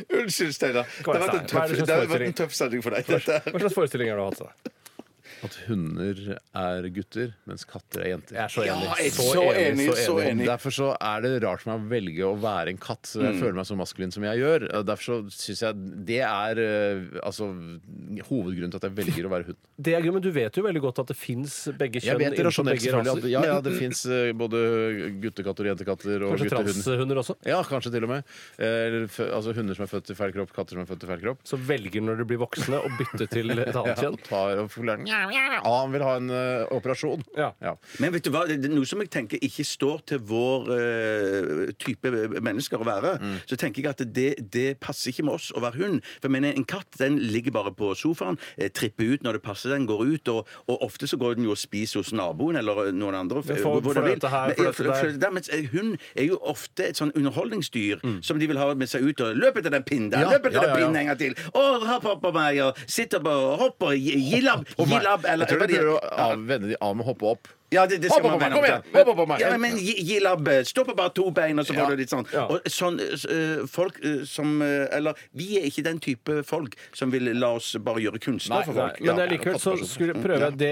Unnskyld, Steinar. Det har vært en Hva er tøff, det som det har vært foregår? en tøff sending for deg. Dette. Hva slags forestilling altså? har du hatt? da? At hunder er gutter, mens katter er jenter. Jeg er så enig. jeg er så enig, så enig. Derfor så er det rart for meg å velge å være en katt. så Jeg føler meg så maskulin som jeg gjør. Derfor så syns jeg det er eh, altså, hovedgrunnen til at jeg velger å være hund. Det er gøy, men Du vet jo veldig godt at det fins begge Jeg kjønn. vet innenfor rasjonelt begge selvfølgelig raser. at ja, ja, det fins både guttekatter og jentekatter og Kanskje guttehunder. transhunder også? Ja, kanskje til og med. Eller, fø- altså Hunder som er født i feil kropp, katter som er født i feil kropp. Så velger når de blir voksne å bytte til et annet *laughs* Ja, kjønn? og tar og forklarer «Mjau, mjau». Ja, han vil ha en eh, operasjon. Ja. Men vet du hva, det er noe som jeg tenker ikke står til vår eh, type mennesker å være. Mm. Så tenker jeg at det, det passer ikke med oss å være hund. For jeg mener, en katt den ligger bare på sofaen, eh, tripper ut når det passer den, går ut, og, og ofte så går den jo og spiser hos naboen eller eh, noen andre. Ja, for- hvor den for vil. dette her, Men- for ja, dette der. for- der, mens eh, hund er jo ofte et sånn underholdningsdyr som de vil ha med seg ut og løp etter den pinnen der, Mm. Ja, løp etter ja, ja, den ja. pinnen en gang til, og hopp opp på meg, og sitter på og hopper, gi- gillab, gillab, eller jeg tror hva de de- prøver å av- vende de av med å hoppe opp. ja, det, det skal Hopp opp man på meg, vende kom til. igjen, hopp opp på meg. Ja, men, men gi, gi labb. Stå på bare to bein, og så får Ja. du litt sånn. Ja. Og sånn eh, folk eh, som eh, Eller vi er ikke den type folk som vil la oss bare gjøre kunstner for folk. men Ja. likevel så skulle jeg prøve det,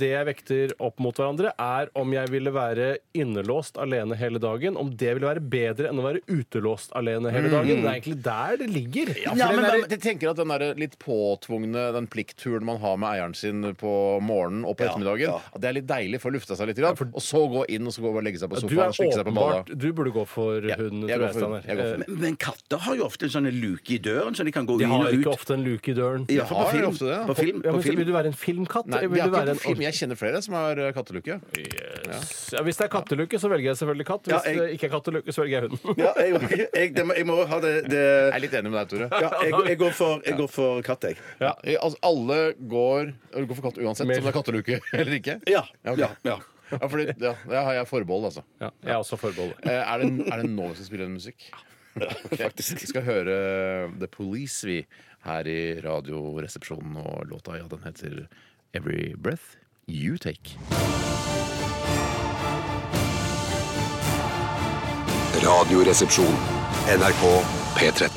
det jeg vekter opp mot hverandre, er om jeg ville være innelåst alene hele dagen. Om det ville være bedre enn å være utelåst alene hele dagen. Det er egentlig der det ligger. Mm. Ja, for Ja, den men der, da- jeg tenker at den der litt påtvungne Den pliktturen man har med eieren sin på morgenen og på ettermiddagen, ja. at det er litt deilig for å lufta seg litt. Grann, og så gå inn og så gå og legge seg på Du sofaen og er slikke seg på balla. åpenbart Du burde gå for Ja, hunden, jeg tror går jeg, for hunden. Steinar. Jeg går for Eh, hunden. men, men katter har jo ofte en sånn luke i døren, så de kan gå De inn har og ikke ut. ofte en luke i døren. I hvert fall på Har de film. ofte det, da? på film. Ja, På men film. Vil du være en filmkatt? Nei, Eh, Vil det er du ikke være på film. en... Jeg kjenner flere som har eh, kattelukke. Ja, Hvis det er katteluke, så velger jeg selvfølgelig katt. Hvis Ja, jeg- det ikke er katteluke, så velger jeg hunden. Ja, jeg, jeg, det må, jeg må ha det, det Jeg er litt enig med deg, Tore. ja, *laughs* jeg, jeg, går for, jeg går for katt, jeg. Ja. Altså, alle går, eller går for katt uansett, Mer. om det er katteluke *laughs* eller ikke? Ja. ok. ja, ja. Ja, fordi, ja, der har jeg forbehold, altså. Ja, jeg er også forbeholdet. Eh, Er det, er det nå vi skal spille den musikk? Ok. Vi skal høre The Police, vi, her i Radioresepsjonen. Og låta, ja, den heter Every Breath You Take. Radioresepsjon. NRK P13.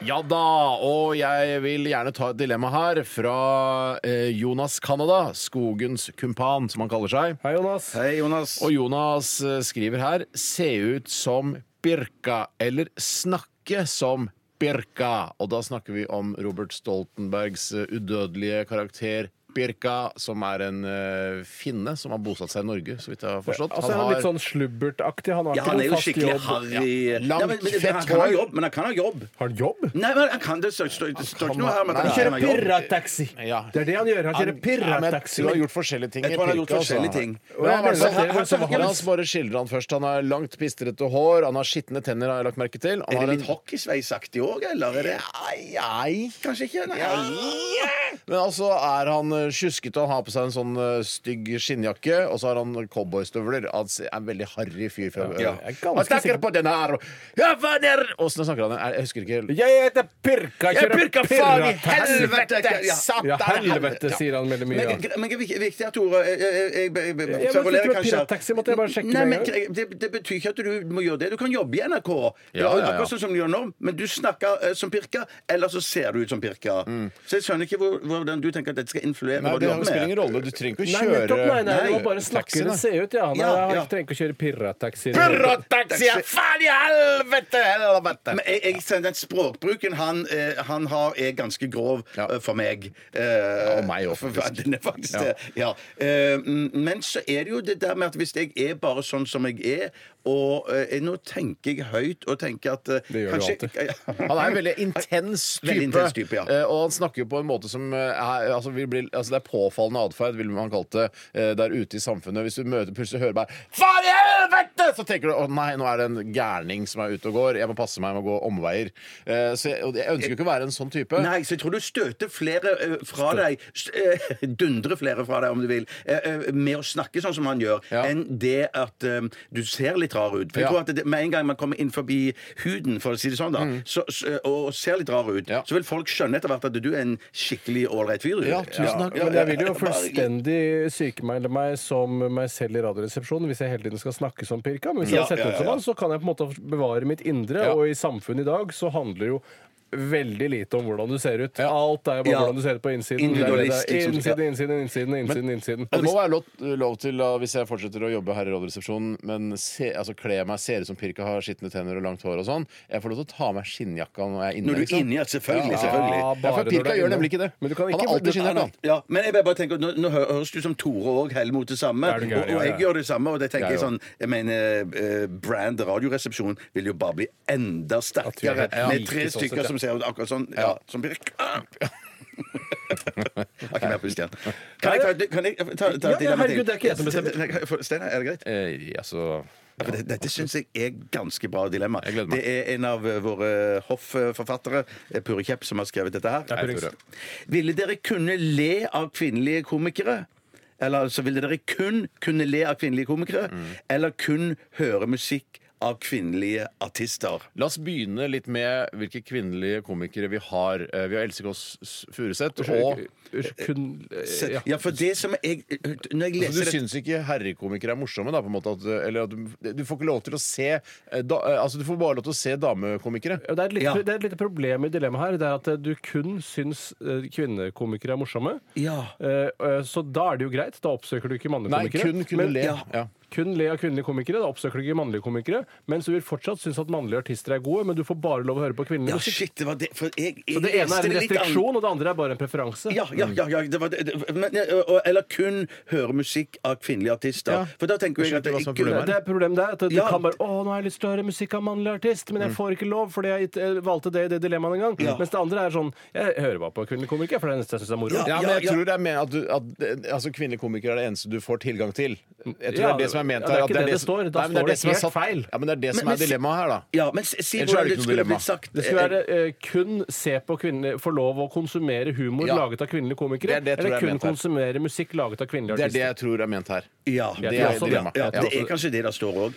Ja da! Og jeg vil gjerne ta et dilemma her fra eh, Jonas Canada, skogens kumpan, som han kaller seg. Hei, Jonas. Hei, Jonas. Og Jonas eh, skriver her Se ut som Birka eller snakke som Birka. Og da snakker vi om Robert Stoltenbergs eh, udødelige karakter Birka, som er en eh, finne som har bosatt seg i Norge, så vidt jeg har forstått. Altså, han er litt sånn slubbertaktig. Han har Ja, han ikke er noen jo fast skikkelig jobb. harry. Ja. Langt, Ja, men- men- fett han kan ha hår. jobb, men han kan ha jobb. Har han jobb? Nei, men han kan det står står- det står ikke noe her om at han ikke har jobb. pirrataxi! Ja. Det er det han gjør. Han Ja, kjører men jeg pirrataxi. tror han har gjort forskjellige ting. Jeg tror han har i gjort Pirka, altså. forskjellige ting. Men i hvert fall, Ja, men- her- her- her- La oss bare skildre han først. Han har langt, pistrete hår, han har skitne tenner, har jeg lagt merke til. Han Er har det en- litt hockeysveisaktig òg, eller? Er det? Nei Kanskje ikke? Nei. Men altså er han eh, tjuskete, han har på seg en sånn eh, stygg skinnjakke, og så har han cowboystøvler. Han s- er en veldig harry fyr. Fra, Ja, jeg er ganske Han snakker sikker. på den her og Ja, hva der? Åssen snakker han? Jeg- Jeg husker ikke helt. Jeg heter Pirka! Jeg pirka faen i helvete! Ja. Satan! Ja, helvete, Ja. sier han veldig mye. Men, ja. men det er viktig at Tore Jeg, jeg, jeg, jeg, jeg, men kverulerer du er kanskje. pirattaxi, måtte jeg bare sjekke Nei, med men, en gang. det, det betyr ikke at du må gjøre det. Du kan jobbe i NRK. Du Ja, har ja, ja. Akkurat sånn som du gjør nå, men du snakker eh, som Pirka, eller så ser du ut som Pirka. Så jeg skjønner ikke hvor, hvordan du tenker at dette skal influere Nei, hva du det jobber spiller med. ingen rolle. Du trenger ikke å Nei, kjøre nettopp, nei, nei, det var bare taxi, snakker nei. det ser ut, ja. Nei, Ja, Han ja. trenger ikke å kjøre pirrataxi. Pirrataxi! ja, Faen i helvete! helvete. Men jeg, jeg, ser den språkbruken han, eh, han har, er ganske grov Ja. eh, for meg. Eh, og meg også, for- *laughs* faktisk. Den er faktisk Ja. det. Ja. Eh, mm, men så er det jo det der med at hvis jeg er bare sånn som jeg er, og eh, jeg- nå tenker jeg høyt og tenker at eh, Det gjør du kanskje, *laughs* Han er en veldig intens type. Veldig intens type, ja. Eh, Og han snakker jo på en måte som eh, er, altså, vil bli, altså det er påfallende atferd, ville man kalt det, eh, der ute i samfunnet. Hvis du møter plutselig hører bare Faen i helvete! Så tenker du å nei, nå er det en gærning som er ute og går. Jeg må passe meg med å gå omveier. Eh, Så jeg, og jeg ønsker jo ikke å være en sånn type. Nei, så jeg tror du støter flere ø, fra deg, s- ø, *laughs* dundrer flere fra deg, om du vil, ø, ø, med å snakke sånn som han gjør, Ja. enn det at ø, du ser litt rar ut. For jeg Ja. tror at det, med en gang man kommer inn forbi huden, for å si det sånn, da, så, s- ø, og ser litt rar ut, Mm. Ja. så vil folk skjønne etter hvert at du er en skikkelig ålreit fyr. du. Ja, tusen takk. Ja, Men jeg vil jo ja, *laughs* bare- fullstendig sykemelde meg som meg selv i Radioresepsjonen hvis jeg hele tiden skal snakke som Pirka. Men hvis jeg Ja, hadde sett ja, ut som ja. han, så kan jeg på en måte bevare mitt indre. Ja. Og i samfunnet i dag så handler jo veldig lite om hvordan du ser ut. Ja. Alt er jo bare Ja. hvordan du ser ut på innsiden. Det er det Individualist, det er. liksom. Innsiden, innsiden, innsiden, innsiden. innsiden. Det må være lov, lov til, da, hvis jeg fortsetter å jobbe her i Radioresepsjonen, men se, altså, kle meg, ser ut som Pirka, har skitne tenner og langt hår og sånn, jeg får lov til å ta av meg skinnjakka når jeg er inne. liksom. Når du er inne, ja, selvfølgelig, selvfølgelig. Ja, Ja, bare for når du Pirka er gjør inne. nemlig ikke det. Men du kan han ikke- har alltid du- skinnjakka. han. Ja, men jeg bare tenker, nå, nå hø- høres du som Tore og Hell mot det samme. Er du gæren? og, og Ja, jeg ja. gjør det samme. Og det tenker Ja, jeg ja. sånn Jeg mener, eh, brand Radioresepsjon vil jo bare bli enda sterkere Ja, med tre like sånn sett, ja. stykker som ser ut akkurat sånn. Ja, som blir *laughs* Har ikke mer pust igjen. Kan jeg ta, kan jeg ta, ta, ta Ja, et ja, dilemma herregud, det er ikke jeg som bestemmer. Nei, kan jeg få- Steinar, er det greit? Eh, altså Ja, for det- Dette syns jeg er ganske bra dilemma. Jeg gleder meg. Det er en av eh, våre hoffforfattere, eh, Pure Kjepp, som har skrevet dette her. Hei, Pure. Ville dere kunne le av kvinnelige komikere? Eller altså, ville dere kun kunne le av kvinnelige komikere? Eller kun høre musikk av kvinnelige artister? La oss begynne litt med hvilke kvinnelige komikere vi har. Eh, Vi har Else Kåss Furuseth. Og Kun- Ja. Eh, ja. for det som jeg eh, Når jeg altså, leser du det syns ikke herrekomikere er morsomme? da, på en måte at, eh, eller at du, du får ikke lov til å se eh, da, eh, Altså, Du får bare lov til å se damekomikere. Ja, Det er, et lite, Ja. det er et lite problem i dilemmaet her. Det er at eh, du kun syns eh, kvinnekomikere er morsomme. Ja. Eh, eh, Så da er det jo greit. Da oppsøker du ikke Nei, mannlige komikere. kun kunne Men- le. ja. Ja. Kun le av kvinnelige komikere. Da oppsøker du ikke mannlige komikere. Mens du vil fortsatt synes at mannlige artister er gode, men du får bare lov å høre på kvinnelig Ja, musikk. shit, det var det For jeg, jeg Så det ene leste er en litt an- restriksjon, og det andre er bare en preferanse. Ja, ja, ja, ja det var det, det, men, ø, ø, Eller kun høre musikk av kvinnelige artister. Ja. For da tenker jeg Jeg skjønner at det ikke hva som er ikke- problemet her. Det er problemet der, at du Ja. kan bare 'Å, nå har jeg lyst til å høre musikk av mannlig artist', Mm. men jeg får ikke lov fordi jeg gitt- eh, valgte det i det dilemmaet en gang. Mens det andre er sånn 'Jeg hører bare på kvinnelige komikere, for det er det eneste jeg syns er Ja. moro'. Ja, men jeg ja. tror det er mer at, du, at det- altså, Kvinnelige komikere er det eneste du får tilgang til. Jeg tror Ja, det er det som er ment ja, her. det er at ikke det det som- står. Da Nei, men er står det som er helt satt- feil. Ja, men det er det som Men- er men- dilemmaet her, da. Ja, men si Ellers er hvordan det det, ikke noe skulle dilemma. blitt sagt. Det skulle være eh, kun se på kvinner, få lov å konsumere humor Ja. laget av kvinnelige Det er komikere, det jeg tror eller jeg kun mente her. konsumere musikk laget av kvinnelige Det er det artister. jeg tror er ment her. Ja, Jeg Det tror er også det. dilemma. ja, Jeg tror det er også kanskje det der står òg.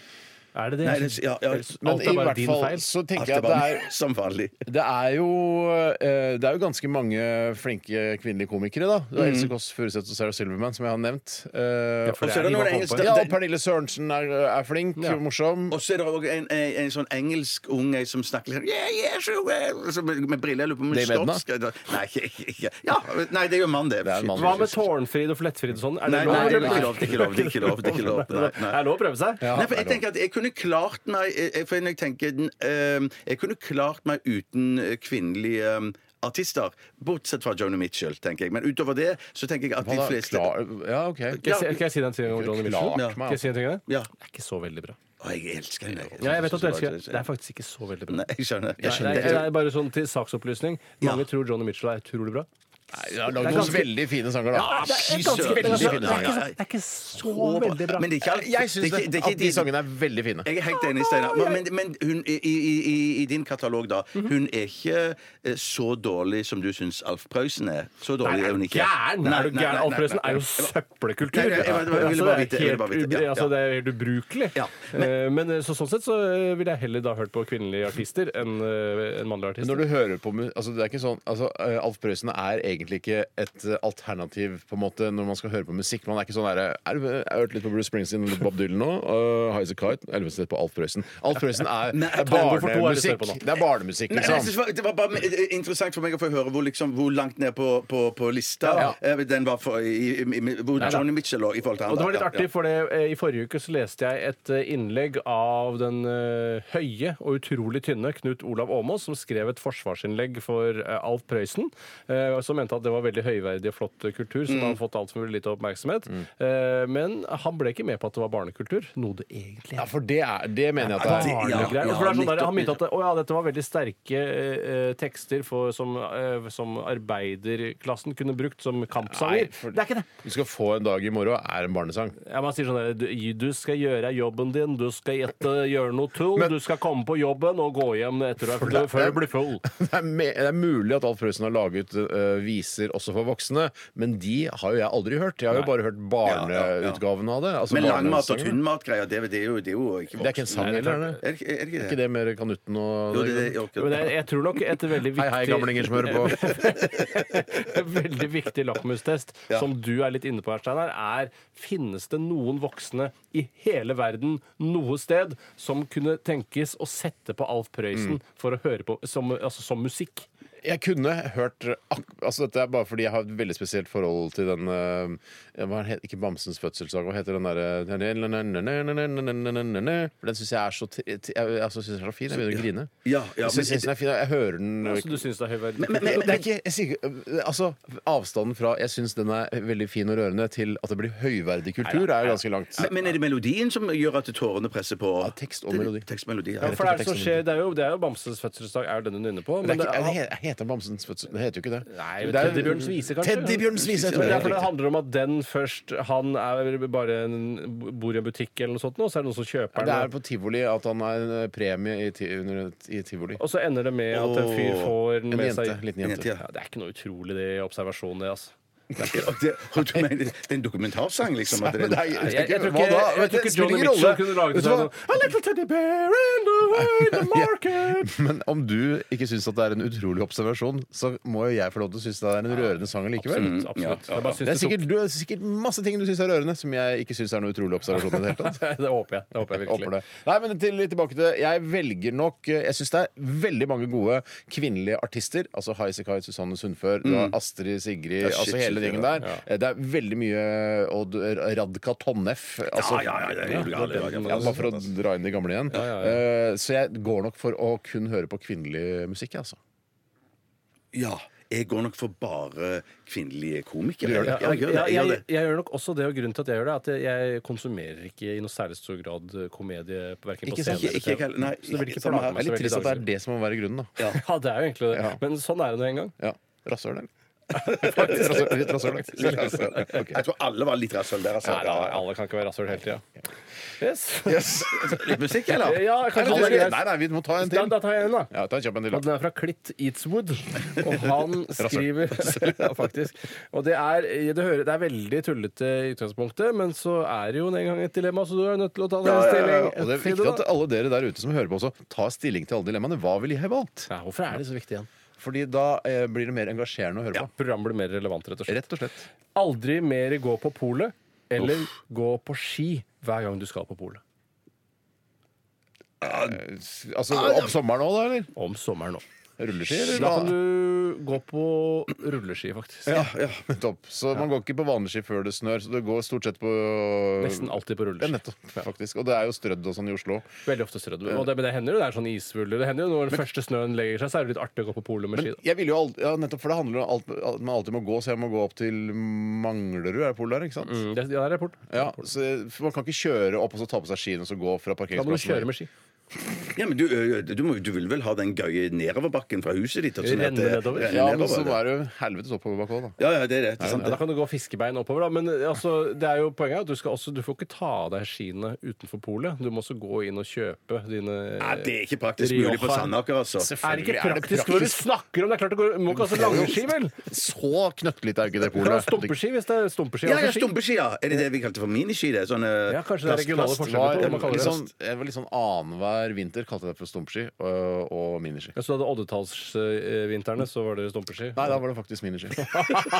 Er det det? Nei, det- ja, ja. Men Alt i er bare hvert din fall feil. så tenker jeg at det er Som vanlig. Det er jo, eh, det er jo ganske mange flinke kvinnelige komikere, da. Det er Else Kås Furuseth og Sarah Silverman, som jeg har nevnt. Eh, Mm. for Og det så er er det de noen bare engelske på. ja, og Pernille Sørensen er, er flink, Ja. morsom. Og så er det òg en, en, en sånn engelsk ung ei som snakker litt sånn yeah, yeah, sure, well», så med, med briller. Jeg lurer på om hun Dave Edna? skotsk Nei, ikke- ikke- ikke. ja, nei, det er jo mann, det. er en mann. Hva med Tårnfrid og Flettfrid og sånn? Er Nei, det lov? nei, det er eller? ikke lov. Det er ikke lov. Det er ikke lov. Det er ikke lov. Nei, nei. Er *laughs* det lov å prøve seg? Ja, Nei, for er jeg det tenker at jeg kunne klart meg jeg- jeg- for når jeg, tenker, den, ehm, jeg kunne klart meg uten eh, kvinnelige ehm, artister. Bortsett fra Joni Mitchell, tenker jeg. Men utover det så tenker jeg at de Han er fleste klar- Ja, OK. Skal jeg, si- skal jeg si den tingen om Johnny Mitchell? Klart Skal jeg si den tingen? Ja. Det er ikke så veldig bra. Å, jeg elsker henne. Ja, jeg vet at du elsker det. Det er faktisk ikke så veldig bra. Nei, jeg skjønner. Jeg Nei, skjønner. det er bare sånn til saksopplysning. Mange tror Johnny Mitchell er utrolig bra. Nei, Jeg har lagd Det er noen ganske- veldig fine sanger, da. det er ganske- ganske- det er veldig ganske- fine det er ikke sanger. så- det er ikke så Og- veldig bra. Men det er ikke alt- Jeg syns det er det, ikke- det er ikke at de din- sangene er veldig fine. Jeg er helt enig, Steinar. Men, men hun, i, i, i- i din katalog, da. Mhm. Hun er ikke eh, så dårlig som du syns Alf Prøysen er. Så dårlig er hun ikke. Gæren! Nei, Er du nei, gæren? nei, Alf Prøysen nei, er jo nei. søppelkultur. Nei, nei, jeg- jeg- jeg- jeg ville bare Altså, det er vite- jeg ville bare vite, helt ubru- ja, ja. altså, Det er helt ubrukelig. Ja, Eh, Men eh, så, sånn sett så eh, ville jeg heller da hørt på kvinnelige artister enn eh, en mannlig artist. Når du hører på mu- altså det er ikke sånn, altså eh, Alf Prøysen er egentlig ikke et eh, alternativ på en måte når man skal høre på musikk. Man er ikke sånn der, eh, er, du- Jeg har hørt litt på Bruce Springsteen og litt Bob Dylan nå. Uh, Highas a Kite. Jeg har lyst til å se på Alf Prøysen. Alf Prøysen er, Nei, er jeg tror- hvorfor to har lyst til barnemusikk. å høre på nå? Det er barnemusikk, Nei, men jeg liksom. synes det var- det var bare eh, interessant for meg å få høre hvor, liksom, hvor langt ned på, på, på lista Ja. eh, den var for, i, i, i, hvor Johnny Mitchell lå i forhold til han. Og det var da. litt Ja, ja. artig, for det, eh, i forrige uke så leste jeg et eh, innlegg av den eh, høye og utrolig tynne Knut Olav Åmås, som skrev et forsvarsinnlegg for eh, Alf Prøysen, eh, som mente at det var veldig høyverdig og flott eh, kultur Mm. som har fått altfor lite oppmerksomhet. Eh, Men han ble ikke med på at det var barnekultur, noe det egentlig Ja, er. for det, er, det mener jeg at det er. ja, Barnegreier. for det er sånn der, nettopp, han mente at det, å ja, dette var veldig sterke eh, tekster for, som, eh, som arbeiderklassen kunne brukt som kampsanger. Nei, for- Det er ikke det. Du skal få en dag i morgen, er en barnesang. *laughs* Ja, man sier sånn der, du, du skal gjøre jobben din, du skal gjette, gjøre noe tull, du skal komme på jobben og gå hjem etter du er full, før du blir *laughs* full. Det er, me det er mulig at Alf Prøysen har laget eh, viser også for voksne, men de har jo jeg aldri hørt. Jeg har jo Nei. bare hørt barneutgaven av det. Altså Men langmat og barnesangene. tynnmatgreier, det, det, er jo- det er jo ikke Det er ikke en sang Nei, det er heller, er Er det? det ikke- er det Er ikke ikke det? det mer Kanutten og Jo, det, det, jo, Men jeg, jeg tror nok et veldig Hei, viktig hei, gamlinger som hører på. *laughs* veldig viktig lakmustest som du er litt inne på her, Steinar, er finnes det noen voksne i hele verden noe sted som kunne tenkes å sette på Alf Mm. Prøysen for å høre på som, altså, som musikk? *laughs* Jeg kunne hørt ak- altså Dette er bare fordi jeg har et veldig spesielt forhold til den eh, hva heter, Ikke Bamsens fødselsdag, hva heter den derre Den syns jeg er så tri- ti- Jeg, jeg synes den er så fin. Jeg begynner å grine. Ja, ja, jeg men- synes, jeg synes den er fin. Jeg hører den Altså, du syns det er høyverdig? men, det er ikke, jeg sier, ikke- altså, Avstanden fra 'jeg syns den er veldig fin og rørende' til at det blir høyverdig kultur, er jo ganske langt. Men, men er det melodien som gjør at tårene presser på? Ja, tekst og melodi. Tekst og melodi, ja. Ja, *laughs* for det, er det, som skjer, det, er jo, det er jo Bamses fødselsdag, er jo den hun er inne på. Men det, er det- ikke, det he- heter Bamsens fødsel... Det heter jo ikke det. Nei, Det er- Teddybjørns vise, kanskje? Teddybjørns vise, jeg tror Men det det er er fordi det riktig. handler om at den først Han er bare en, bor i en butikk eller noe sånt, nå, så er det noen som kjøper Det er den. på tivoli at han er en eh, premie i, ti, under, i tivoli. Og så ender det med at en fyr får den En med jente, seg liten jente. Ja. ja, Det er ikke noe utrolig det observasjonen, det, altså. Og det, og du mener, det er en dokumentarsang, liksom? At det er en, Jeg, jeg, tror Hva ikke, da? jeg, jeg tror Det ikke spiller Johnny ingen Mitchell rolle. kunne laget Vet du seg hva? noe A little teddy bear in the *laughs* wide market Men om du ikke syns at det er en utrolig observasjon, så må jo jeg få lov til å synes det er en rørende sang likevel. Absolutt. absolutt. Jeg bare synes Det er det, sikkert, du har sikkert masse ting du syns er rørende, som jeg ikke syns er noe utrolig observasjon. i det hele tatt. *laughs* tok, *laughs* det håper jeg. Det håper jeg Håper virkelig. det. Nei, men til, litt tilbake til Jeg velger nok eh, Jeg syns det er veldig mange gode kvinnelige artister. Altså Highasakite, Susanne Sundfør, du har Astrid Sigrid, Ja, shit, altså hele shit, gjengen ja. der. Eh, Det er veldig mye Odd Radka Tonnef. Altså, ja, ja, ja, det er helt galt, det er helt galt. Ja, bare for å dra inn de gamle igjen. Eh, Så jeg går nok for å kun høre på kvinnelig musikk, jeg, altså. ja. Jeg går nok for bare kvinnelige komikere. Du gjør det? Ja, jeg gjør det. Ja, Jeg gjør jeg, det. jeg gjør nok også det, og grunnen til at jeg gjør det, er at jeg konsumerer ikke i noe særlig stor grad eh, komedie på verken på Ikke sant? scenen Ikke, ikke, eller TV. ikke, nei, Så det blir ikke samme her. forlate meg Det sånn. er litt så veldig trist at det er daglig. det som må være grunnen, da. *laughs* Ja, det er jo egentlig det. Ja. Men sånn er det nå en gang. Ja. Rasshøl, eller? Rasshøl, litt rasshøl, faktisk. Ok. altså. Jeg tror alle var litt rasshøl der, altså. Nei, da, alle kan ikke være rasshøl hele tida. Yes. Litt musikk, eller? Ja, kanskje Nei, det er- Nei, nei, vi må ta en *laughs* Da, til. da tar jeg en, da. Ja, ta en kjapp en til. Og da. den er fra Clint Eatswood, *laughs* og han skriver ja, faktisk. Og det er, det, hører, det er veldig tullete i utgangspunktet, men så er det jo en gang et dilemma, så du er nødt til å Ja, ta en ja, ja, stilling. Og det er til viktig at da. alle dere der ute som hører på også, tar stilling til alle dilemmaene. Hva ville jeg valgt? ja, hvorfor er det så viktig igjen? Fordi da eh, blir det mer engasjerende å høre på. Programmet blir mer relevant, rett og slett. Rett og slett. Aldri mer gå på polet, eller gå på ski hver gang du skal på polet. Altså Ah, om sommeren òg, da, eller? Om sommeren nå. Rulleski, eller? Da kan hva? du gå på rulleski, faktisk. Ja, ja, nettopp. Så man går ikke på vanlig ski før det snør. Så det går stort sett på Nesten alltid på ja, rulleski. nettopp, faktisk. Og det er jo strødd og sånn i Oslo. Veldig ofte strødd. Og det, men det hender jo det er sånn isvuller. Det hender jo når den første snøen legger seg, så er det litt artig å gå på polet med ski. da. Jeg vil jo aldri, ja, nettopp, for det handler jo om alt, at man alltid må gå, så jeg må gå opp til Manglerud, er det polet der? ikke sant? Mm, det, ja, det er rapport. Ja, så for Man kan ikke kjøre opp og så ta på seg skiene og så gå fra Da må du kjøre parkeringsplassen. med ski. Ja, men du, ø, du, må, du vil vel ha den gøye nedoverbakken fra huset ditt? og sånn at det- Renne nedover. renner Ja, men så nedover, er det jo helvetes oppoverbakke òg, da. Ja, ja, det er det. det, er sant, Ja, da det. kan du gå fiskebein oppover, da. Men eh, altså, det er jo poenget er at du, skal også, du får ikke ta av deg skiene utenfor polet. Du må også gå inn og kjøpe dine Nei, det er ikke praktisk mulig på Rioja. Sandaker, altså. Er det ikke Selvfølgelig er det praktisk når du snakker om det? Det er klart det går, må ikke ha så lange ski, vel? Så knøttlite er jo ikke det Du kan ha polet. Stumpeski hvis det er stumpeski. Ja, altså ja, ski. stumpeski, ja. Er det det vi kalte for miniski? Det er sånne Ja, kanskje det er regionale Det forskjeller var, på hva man kaller litt det. sånn, jeg var litt sånn annenhver vinter kalte jeg det for stumpski og, og miniski. Ja, Så da hadde oddetallsvinterne, så var det *laughs* stumpeski? Nei, da var det faktisk miniski.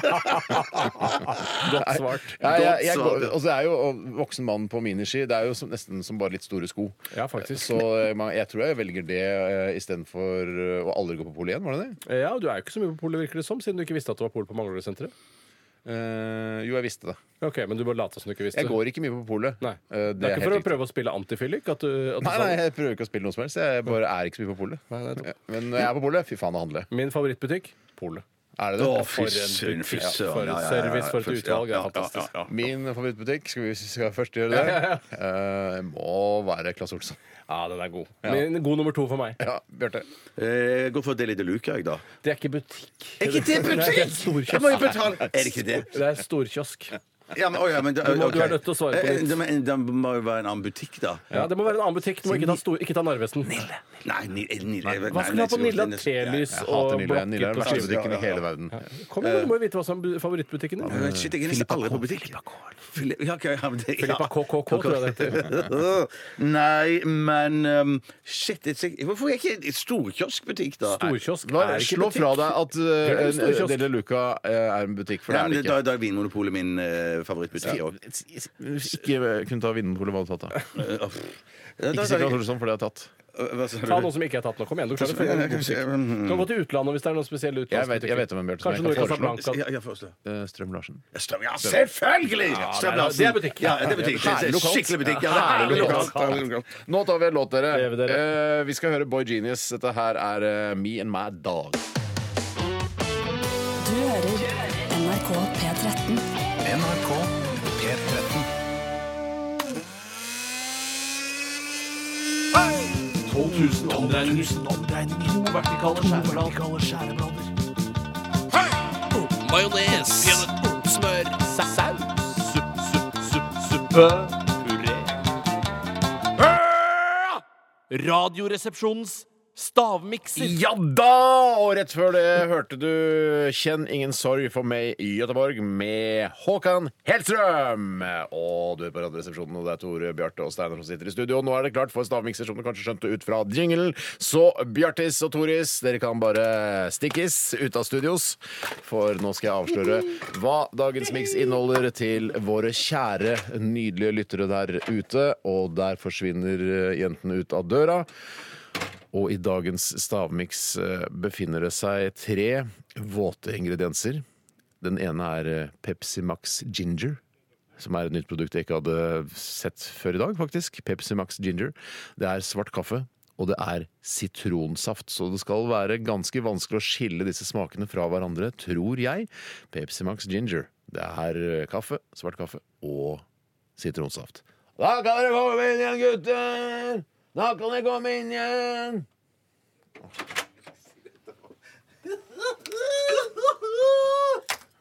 *laughs* Godt svart. Ja, jeg, jeg, Godt går- og så er jo og voksen mann på miniski. Det er jo som, nesten som bare litt store sko. Ja, faktisk. Så eh, man- jeg tror jeg velger det eh, istedenfor eh, å aldri gå på polet igjen, var det det? Eh, Ja, du er jo ikke så mye på polet, virker det som, siden du ikke visste at det var pol på Manglerudsenteret. Eh, jo, jeg visste det. Ok, men du bare lata som du ikke visste. Jeg går ikke mye på polet. Nei. Eh, det, er ikke for å prøve å spille antifyllik? At du, at du Nei, sa- nei, jeg prøver ikke å spille noe som helst. Jeg bare er ikke så mye på polet. Nei, nei, Ja, Men når jeg er på polet, fy faen, det handler jeg. Min favorittbutikk? Polet. Er det det? Å, Ja, fy for en søren, fy butikk. søren. for Ja, et ja, ja, ja, service, for et først, ja, utvalg. Det ja, er ja, ja, fantastisk. ja. Min favorittbutikk, skal vi skal jeg først *laughs* gjøre det? Eh, må være Claes Olsson. Ja, den er god. Men god nummer to for meg. Ja, Bjarte. Eh, Gå for Deli de Luca, jeg, da. Det er ikke butikk. Er ikke det Det butikk?! er en storkiosk. Jeg må jo betale! Er det ikke det? Det er storkiosk. Ja, men, å, ja, men, da- Du må- ok. du er nødt til å svare på Eh, nytt. Det, men, det må jo være en annen butikk, da. Ja, Det må være en annen butikk. Du må ikke ta, stor, ikke ta Narvesen. Nei, Ni- eh, Nille nei, Hva skal du ha på nei, Nilla? nei, Telys Jeg hater og Nille. Nille er den verste blokker? butikken Eh. i hele verden. Kom igjen, du må jo vite hva som er bu- favorittbutikken din. nei, Shit, jeg er nesten aldri på butikk. Fili- ja, ok, ja, men det- ja. Filippa KKK, tror jeg det heter. Nei, men um, Shit, jeg, tenker- hvorfor er ikke en storkioskbutikk, da? Storkiosk Bare er ikke slå fra deg at er en uh, storkiosk. Dele Luca eh, er en butikk, for det Nei, er men det det, da, ikke. da er Vinmonopolet min eh, favorittbutikk òg. Ikke kunne ta Vinmonopolet valgfatt, da. Ikke si sånn- Claes Olsson, for det har jeg tatt. Hva sa Ta du? noe som ikke er tatt nå. Kom igjen, du Ja, klarer det. jeg kan se, Du mm, kan gå til utlandet hvis det er noen spesielle Jeg vet- jeg vet om en Bjørte som jeg Kanskje noe kan Casablanca. ja, ja, forstå. Eh, Strøm-Larsen. Strøm, ja, selvfølgelig! Strøm Larsen. det er butikk. Ja, det er butikk. Det er Skikkelig butikk. Ja, det er Herlig lokalt. lokalt. Herlig lokalt. Nå tar vi en låt, dere. Lever dere. Eh, vi skal høre Boy Genius. Dette her er eh, Me and My Dog. Du hører NRK P13. NRK P13. Radioresepsjonens stavmikser. Ja da! Og rett før det hørte du Kjenn ingen sorg for meg i Göteborg med Håkan Hellstrøm. Og du er på Radioresepsjonen, og det er Tore, Bjarte og Steinar som sitter i studio. Nå er det klart for stavmikser, som du kanskje skjønte ut fra jingelen. Så Bjartis og Toris, dere kan bare stikkes ut av studios, for nå skal jeg avsløre hva dagens miks inneholder til våre kjære, nydelige lyttere der ute. Og der forsvinner eh, jentene ut av døra. Og i dagens stavmiks eh, befinner det seg tre våte ingredienser. Den ene er eh, Pepsi Max Ginger. Som er et nytt produkt jeg ikke hadde sett før i dag, faktisk. Pepsi Max Ginger. Det er svart kaffe, og det er sitronsaft. Så det skal være ganske vanskelig å skille disse smakene fra hverandre, tror jeg. Pepsi Max Ginger. Det er eh, kaffe, svart kaffe og sitronsaft. Da kan dere komme inn igjen, gutter! Da kan dere komme inn igjen!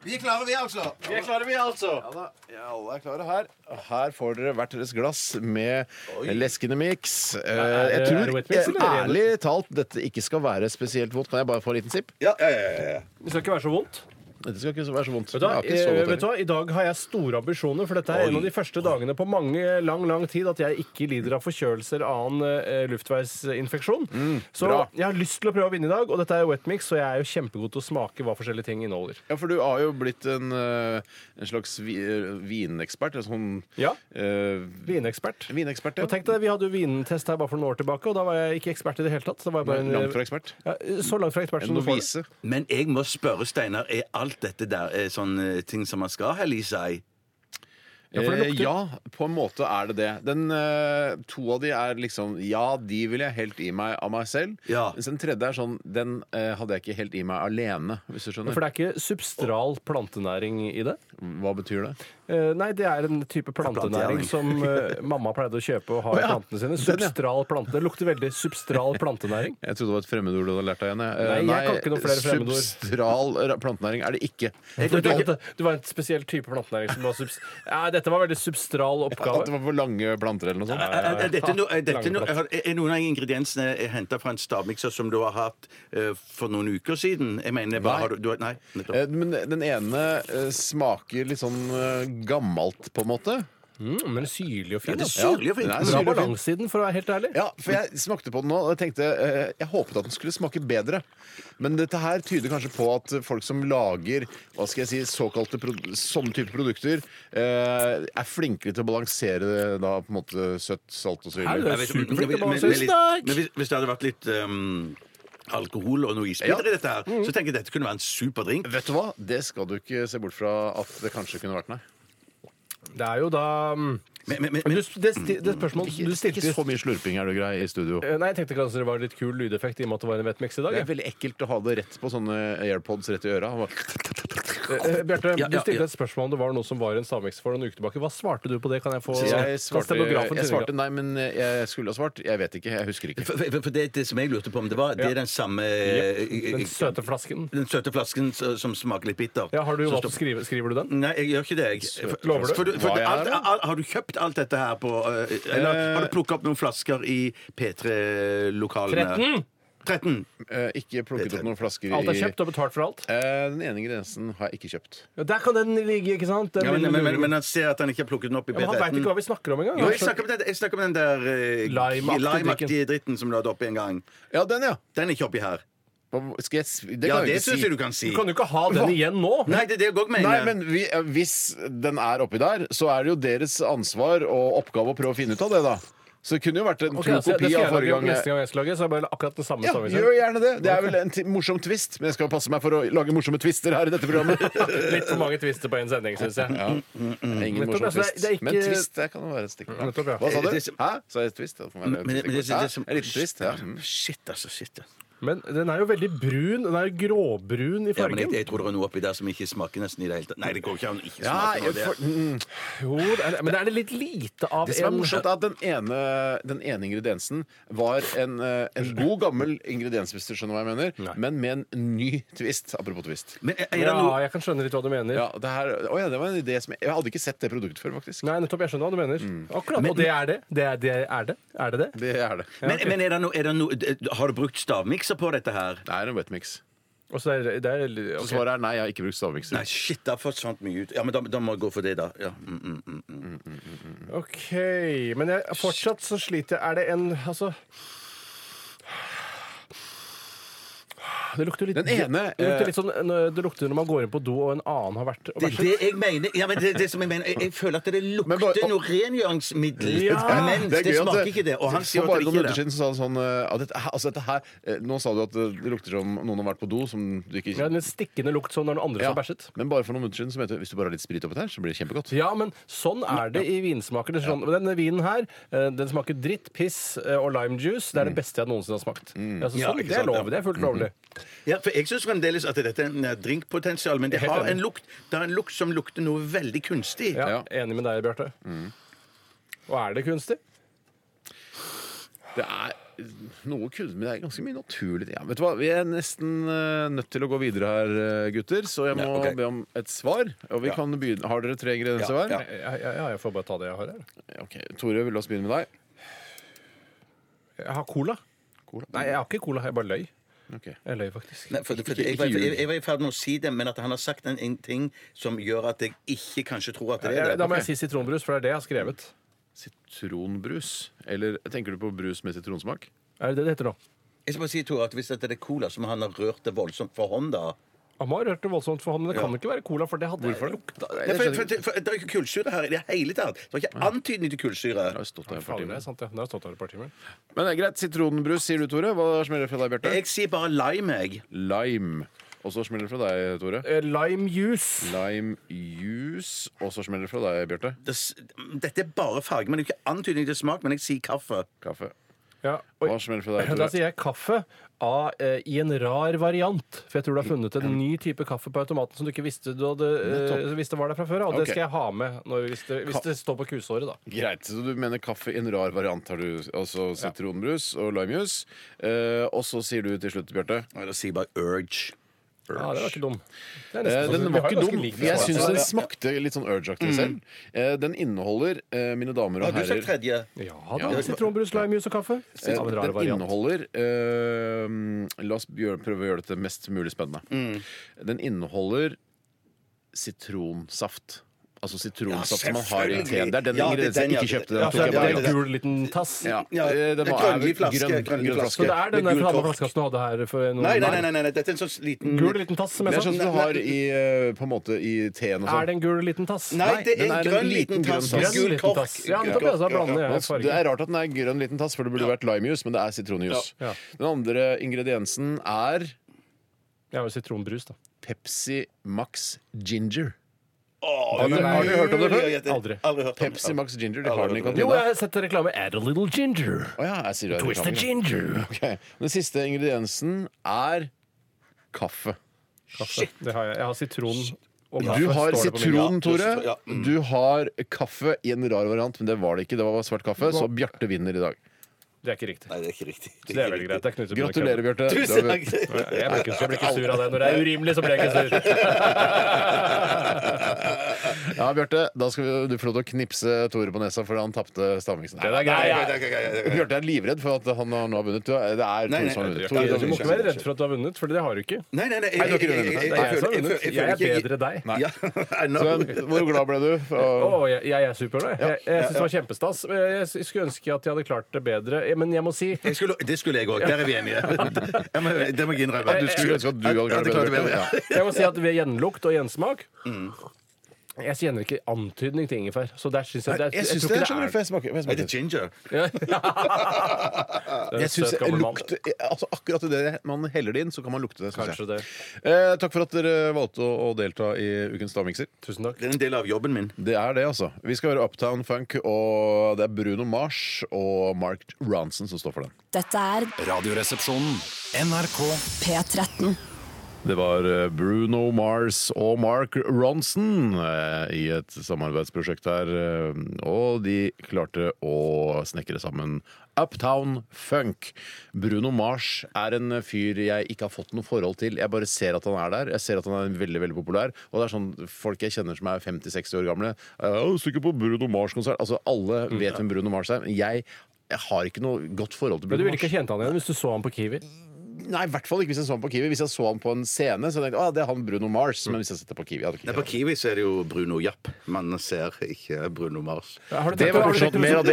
Vi er klare, vi, altså. Vi er klare, vi, altså. Ja da, ja, alle er klare her. Her får dere hvert deres glass med leskende miks. Eh, Jeg det- er det tror wet mix, eller er det ærlig talt dette ikke skal være spesielt vondt. Kan jeg bare få en liten sipp? Ja, ja, ja, ja, ja. Det skal ikke være så vondt. Dette skal ikke være så vondt. Vet du, hva? Det er ikke så Eh, vondt vet du heller. hva, I dag har jeg store ambisjoner, for dette er en av de første dagene på mange lang lang tid at jeg ikke lider av forkjølelse eller annen eh, luftveisinfeksjon. så Mm, bra. jeg har lyst til å prøve å vinne i dag, og dette er wet mix, så jeg er jo kjempegod til å smake hva forskjellige ting inneholder. ja, for du har jo blitt en, eh, en slags vi, eh, vinekspert. En sånn Ja. eh, Vinekspert. vinekspert, ja. Og tenk deg, Vi hadde jo vintest her bare for noen år tilbake, og da var jeg ikke ekspert i det hele tatt. Så, var jeg bare en, eh, Langt fra ekspert. Ja, så langt fra ekspert En som du får novise. det. Men jeg må spørre, Steinar, er alt dette der eh, sånn eh, ting som man skal helle i seg? Ja, for det lukter- Eh, ja, på en måte er det det. Den, eh, to av de er liksom Ja, de vil jeg helt i meg av meg selv. Ja. Mens den tredje er sånn Den eh, hadde jeg ikke helt i meg alene, hvis du skjønner. For det er ikke substral plantenæring i det? Hva betyr det? Eh, Nei, det er en type plantenæring Plantejævling. som eh, mamma pleide å kjøpe og ha i plantene sine. Substral plante. Det lukter veldig substral plantenæring. Jeg trodde det var et fremmedord du hadde lært deg igjen. jeg. Eh, Nei, jeg kan ikke noe flere fremmedord. Substral ra- plantenæring er det *laughs* ikke. Du, var en spesiell type plantenæring som var subs... Nei, dette var en veldig substral At det oppgave. var for lange planter eller noe sånt? *laughs* Er, er, er, dette no, er, dette no, Langeplatt. er, er noen av ingrediensene henta fra en stavmikser som du har hatt eh, for noen uker siden? Jeg mener, hva Nei. har du, du har- Nei. nettopp. Eh, Men den ene eh, smaker litt sånn eh, gammelt, på en måte. Mm, men syrlig og fin. Det er altså. syrlig og fint. Ja, Bra syrlig og fin. balanse i den, for å være helt ærlig. Ja, for jeg smakte på den nå, og jeg tenkte eh, Jeg håpet at den skulle smake bedre. Men dette her tyder kanskje på at folk som lager hva skal jeg si, såkalte produ- sånne type produkter, eh, er flinkere til å balansere det da på en måte søtt, salt og så Er videre. du det? Jeg vet- Superflink til å men- men- balansere. men litt- Snakk! Men hvis, hvis det hadde vært litt ehm, alkohol og noe isbiter Ja. i dette, her, Mm. så tenker jeg dette kunne være en super drink. Vet du hva? Det skal du ikke se bort fra at det kanskje kunne vært, nei. Det er jo da mm, Men, men, men, Men du- det, sti- det spørsmålet du stilte Ikke så mye slurping er du grei i studio. Eh, Nei, jeg tenkte kanskje det var litt kul lydeffekt i og med at det var en vettmix i dag. Eh, Det jeg. er veldig ekkelt å ha det rett på sånne airpods rett i øra. *laughs* Han Eh, bare- eh, Bjarte, Ja, du ja, ja. stilte et spørsmål om det var noe som var en stavmiks for noen uker tilbake. Hva svarte du på det? Kan jeg få Jeg Kan svarte, sånn. stenografen jeg svarte stenografen- nei, men eh, jeg skulle ha svart. Jeg vet ikke. Jeg husker ikke. for, for, for det, det som jeg lurte på om det var, det er den samme eh, Den søte flasken. den søte flasken s- som smaker litt bittert. Ja, har du Som valgt står- å skrive, Skriver du den? Nei, jeg gjør ikke det. Jeg. For- Lover du? For, for, Hva er alt, det? al- har du kjøpt alt dette her på eh, Eller har du plukket opp noen flasker i P3-lokalene? 13! Eh, Ikke plukket opp noen flasker i Alt er kjøpt og betalt for alt? Eh, Den ene grensen har jeg ikke kjøpt. Ja, der kan den ligge, ikke sant? Den Ja, men, lille men, men, luringen. men han ser at han ikke har plukket den opp i Ja, men han veit ikke P13. hva vi snakker om engang. Jo, Han jeg snakker om den, jeg snakker om den der eh, Limeaktige limeaktige dritten som du hadde oppi en gang. Ja, den, ja! Den er ikke oppi her. Hva- Skal jeg s- det Ja, kan det jeg ikke syns si. jeg du kan si. skjønner- Du kan jo ikke ha den igjen nå! Nei, det er det jeg òg Nei, mener. men vi, eh, hvis den er oppi der, så er det jo deres ansvar og oppgave å prøve å finne ut av det, da. Så det kunne jo vært en Ok, tro altså, kopi av det skal jeg lage forrige gang. Neste gang jeg skal lage, så sånn. er det bare akkurat den samme Ja, stavmiksen. gjør gjerne det. Det er vel en ti- morsom twist, men jeg skal passe meg for å lage morsomme twister her i dette programmet. *laughs* Litt for mange twister på én sending, syns jeg. Ja. Ingen Nettopp, morsom altså, det er- twist. det er ikke- Mm, Men twist det kan jo være et stikkord. Nettopp, ja. Hva sa du? Det som- Hæ? Sa jeg twist? Det får være Men- men- men det som- Hæ? det som- En liten twist? Ja. Mm. Shit, altså. Shit. altså. Men den er jo veldig brun. Den er jo gråbrun i Ja, men jeg, fargen. jeg tror det er noe oppi der som ikke smaker nesten i det hele tatt. Nei, det går ikke an å ikke Ja, smake noe jeg av det. får- mm. Jo, det er, men det er litt lite av Det som er en- morsomt, er at den ene, den ene ingrediensen var en, eh, en god, gammel ingrediens, hvis du skjønner hva jeg mener, men med en ny twist. Apropos twist. Men er, er det Ja, noe jeg kan skjønne litt hva du mener. Ja, det, her, å ja, det var en idé som Jeg hadde ikke sett det produktet før, faktisk. Nei, nettopp. Jeg skjønner hva du mener. Mm. Akkurat, Og det er det. Det er det. Er det er det? det? Det er det. men, men er det noe, er det noe Har du brukt stavmikser på dette her? Det er en wetmix. Og så er det, det er, Så ok. svaret er nei, jeg har ikke brukt stavmikser. Nei, shit, da forsvant mye ut. Ja, men da, da må jeg gå for det, da. Ja. Mm, mm, mm, mm. OK. Men jeg, fortsatt så sliter jeg. Er det en Altså Det lukter litt Den ene, Det eh, lukter litt sånn eh, Det lukter når man går inn på do, og en annen har vært og Det er bæsjet. det jeg mener. Ja, men det, er det som jeg, mener. Jeg, jeg føler at det Men bare- lukter noe rengjøringsmiddel, Ja, men er det, gøy at smaker ikke det. Og han sier for at bare det noen ikke er minutter det. siden så sa han sånn eh, at dette, her- altså dette her, eh, Nå sa du at det lukter som noen har vært på do, som du ikke Ja, en litt stikkende lukt sånn når den andre Ja, har bæsjet. Men bare for noen minutter siden så mente du hvis du bare har litt sprit oppi der, så blir det kjempegodt. Ja, men sånn er det i vinsmaker. Det er sånn, Denne vinen her eh, den smaker dritt, piss eh, og limejuice. Det er det beste jeg noensinne har smakt. Ja, så Ja, sånn, ikke det er sant, ja. lov. Det er fullt lovlig. Ja, for jeg syns fremdeles at dette er en eh, drinkpotensial, men det Helt har enig. en lukt Det er en lukt som lukter noe veldig kunstig. Ja, Mm. Ja. Enig med deg, Bjarte. Og er det kunstig? Det er noe kudd, men det er ganske mye naturlig. Ja, vet du hva? Vi er nesten eh, nødt til å gå videre her, eh, gutter, så jeg må Ja, ok. be om et svar. Og vi kan begynne. Har dere tre ingredienser Ja, hver? Eh, Ja, ja, ja, jeg får bare ta det jeg har her. Ok, Tore, vil du la oss begynne med deg? Jeg har cola. Cola. Nei, jeg har ikke cola. Jeg bare løy. Ok. Jeg løy faktisk. Nei, for, for, jeg, var- jeg, jeg var i ferd med å si det, men at han har sagt en, en ting som gjør at jeg ikke kanskje tror at det er Jeg- Eh, Da det. må jeg si sitronbrus, for det er det jeg har skrevet. Sitronbrus? Eller tenker du på brus med sitronsmak? Er det det det heter nå? Jeg skal bare si, Tore, at Hvis dette er cola som han har rørt det voldsomt for hånd, da Han må ha rørt det voldsomt for hånden. Det kan ikke være cola, for det hadde Hvorfor lukta Nei, Jeg for, for, skjønner ikke. for, Det er jo ikke kullsyre her i det hele tatt. Det er ikke antydning til kullsyre. Jeg har stått her et par Faen, det timer. er sant, ja. Nå har jeg stått her et par timer. Men det er greit, sitronbrus sier du, Tore. Hva smeller det fra deg, Bjarte? Jeg sier bare lime, jeg. Lime. Og så smeller det fra deg, Tore. Eh, Lime juice. Lime juice. Og så smeller det fra deg, Bjarte. Det s- Dette er bare farge, men det er ikke antydning til smak. Men jeg sier kaffe. Kaffe. Ja. Hva Oi. smeller det fra deg, *laughs* Da Tore? sier jeg kaffe av, eh, i en rar variant. For jeg tror du har funnet en ny type kaffe på automaten som du ikke visste, du hadde, eh, visste var der fra før. Og det Ok. skal jeg ha med når, hvis, det, hvis det står på kusåret, da. Greit, så du mener kaffe i en rar variant har du, altså sitronbrus og limejuice. Eh, og så sier du til slutt, Bjarte Nei, Da sier jeg bare urge. Ja, det var ikke dum. Det er eh, nesten- Den vi var har jo ikke ganske dum. like Jeg svar. Mm. syns den smakte litt sånn urge-aktig selv. Eh, den inneholder, eh, mine damer Har og du sagt herrer tredje? Ja da. Sitronbrus, limejuice og kaffe. eh, Av en rar Den variant. inneholder eh, La oss gjøre, prøve å gjøre dette mest mulig spennende. Den inneholder sitronsaft. Altså sitronsaft som man har i en te. selvfølgelig. Det er den Ja, det er ingrediensen den, ja. jeg ikke kjøpte. Den Ja, tok for jeg det er bare. en gul liten tass. Ja. Ja, Eh, den en var- grønnlig er vel flaske, grønn- grønnlig grønn flaske. Så det er den Med der gul flamme kork. flaska som du hadde her for noen Nei, nei, nei, nei, nei, dette er en sånn liten Gul liten tass, som Det jeg er sånn sa. som du har i, eh, på en måte i teen og Er sånn. det en gul liten tass? Nei, det den er en grønn liten tass. grønn med Grønn Gul liten kork. tass. Ja, nettopp, ja, så da blander Det jeg farger. er rart at den er grønn liten tass, for det burde vært limejuice, men det er sitronjuice. Ja. Ja. Den andre ingrediensen er Jeg har jo sitronbrus, da. Pepsi Max Ginger. Har du- har du hørt om det før? Aldri. Aldri. Aldri hørt om det. Pepsi Max Ginger, det har den i Jo, kantina. jeg har sett reklame. Add a little ginger. Å ja, jeg sier det er Twist the reklame, ginger. ja. Ok. Den siste ingrediensen er kaffe. Shit. Det har jeg. Jeg har sitron og Du kaffe, har står det på min. sitron, Tore. ja. Du har kaffe i en rar variant, men det var det ikke. Det var svart kaffe, så Bjarte vinner i dag. Det er ikke riktig. Nei, det er ikke riktig. Det er veldig greit. Det er Knut som blir Gratulerer, kødder. Bjarte. Du Tusen takk. har- Jeg blir ikke, jeg blir ikke sur av det. Når det er urimelig, så blir jeg ikke sur. Ja, Bjarte, da skal vi, du få lov til å knipse Tore på nesa, for han tapte stavmiksen. Den er grei. Nei, nei, nei, nei, nei, nei. Bjarte er livredd for at han har nå har vunnet. Det er Nei, nei, Tore som har vunnet. jeg Tore, tror ikke du Du må må ikke være redd for at du har vunnet, for det har du ikke. Nei, nei, nei. Nei, du har ikke jeg- rønnet. jeg- Det er jeg som har jeg- vunnet. jeg- jeg- Jeg er jeg- bedre deg. Ja, I know. Sven, hvor glad ble du? Å, Og- jeg, jeg er super, da. Jeg, jeg syns det var kjempestas. Jeg s- skulle ønske at jeg hadde klart det bedre, Eh, men jeg må si Jeg skulle, det skulle jeg òg. Der er vi *laughs* enige. Jeg må, det må jeg innrømme. Du skulle ønske at du hadde klart det klart det bedre. bedre. Ja. Jeg må si at ved gjenlukt og gjensmak Mm. Jeg kjenner ikke antydning til ingefær. Så der syns Jeg jeg, syns tror det ikke er skjønner du, *laughs* for jeg smaker- for jeg Er det smaker. ginger? Det er en Jeg synes søt gammel mann. lukt, altså akkurat idet man heller det inn, så kan man lukte det. synes jeg. Kanskje det. Eh, takk for at dere valgte å, å delta i ukens stavmikser. Tusen takk. Det er en del av jobben min. Det er det, altså. Vi skal høre Uptown Funk, og det er Bruno Mars og Mark Ronson som står for den. Dette er Radioresepsjonen. NRK P13. Det var eh, Bruno Mars og Mark Ronson eh, i et samarbeidsprosjekt her. eh, Og de klarte å snekre sammen Uptown Funk. Bruno Mars er en fyr jeg ikke har fått noe forhold til. Jeg bare ser at han er der. Jeg ser at han er veldig veldig populær. Og det er sånn folk jeg kjenner som er 50-60 år gamle eh, «Å, Du skal ikke på Bruno Mars-konsert. Altså, alle vet hvem Bruno Mars er. Men jeg jeg har ikke noe godt forhold til Men du Bruno ville Mars. ikke kjent han igjen hvis du så han på Kiwi? Nei, i hvert fall ikke hvis jeg så ham på Kiwi. Hvis jeg så ham på en scene, så tenkte jeg ah, det er han Bruno Mars. Men hvis jeg setter på Kiwi, hadde jeg Nei, ikke på Kiwi så er det jo Bruno Japp. Man ser ikke Bruno Mars. Har du Det tenkt- var har du morsomt. tenkt- Mer av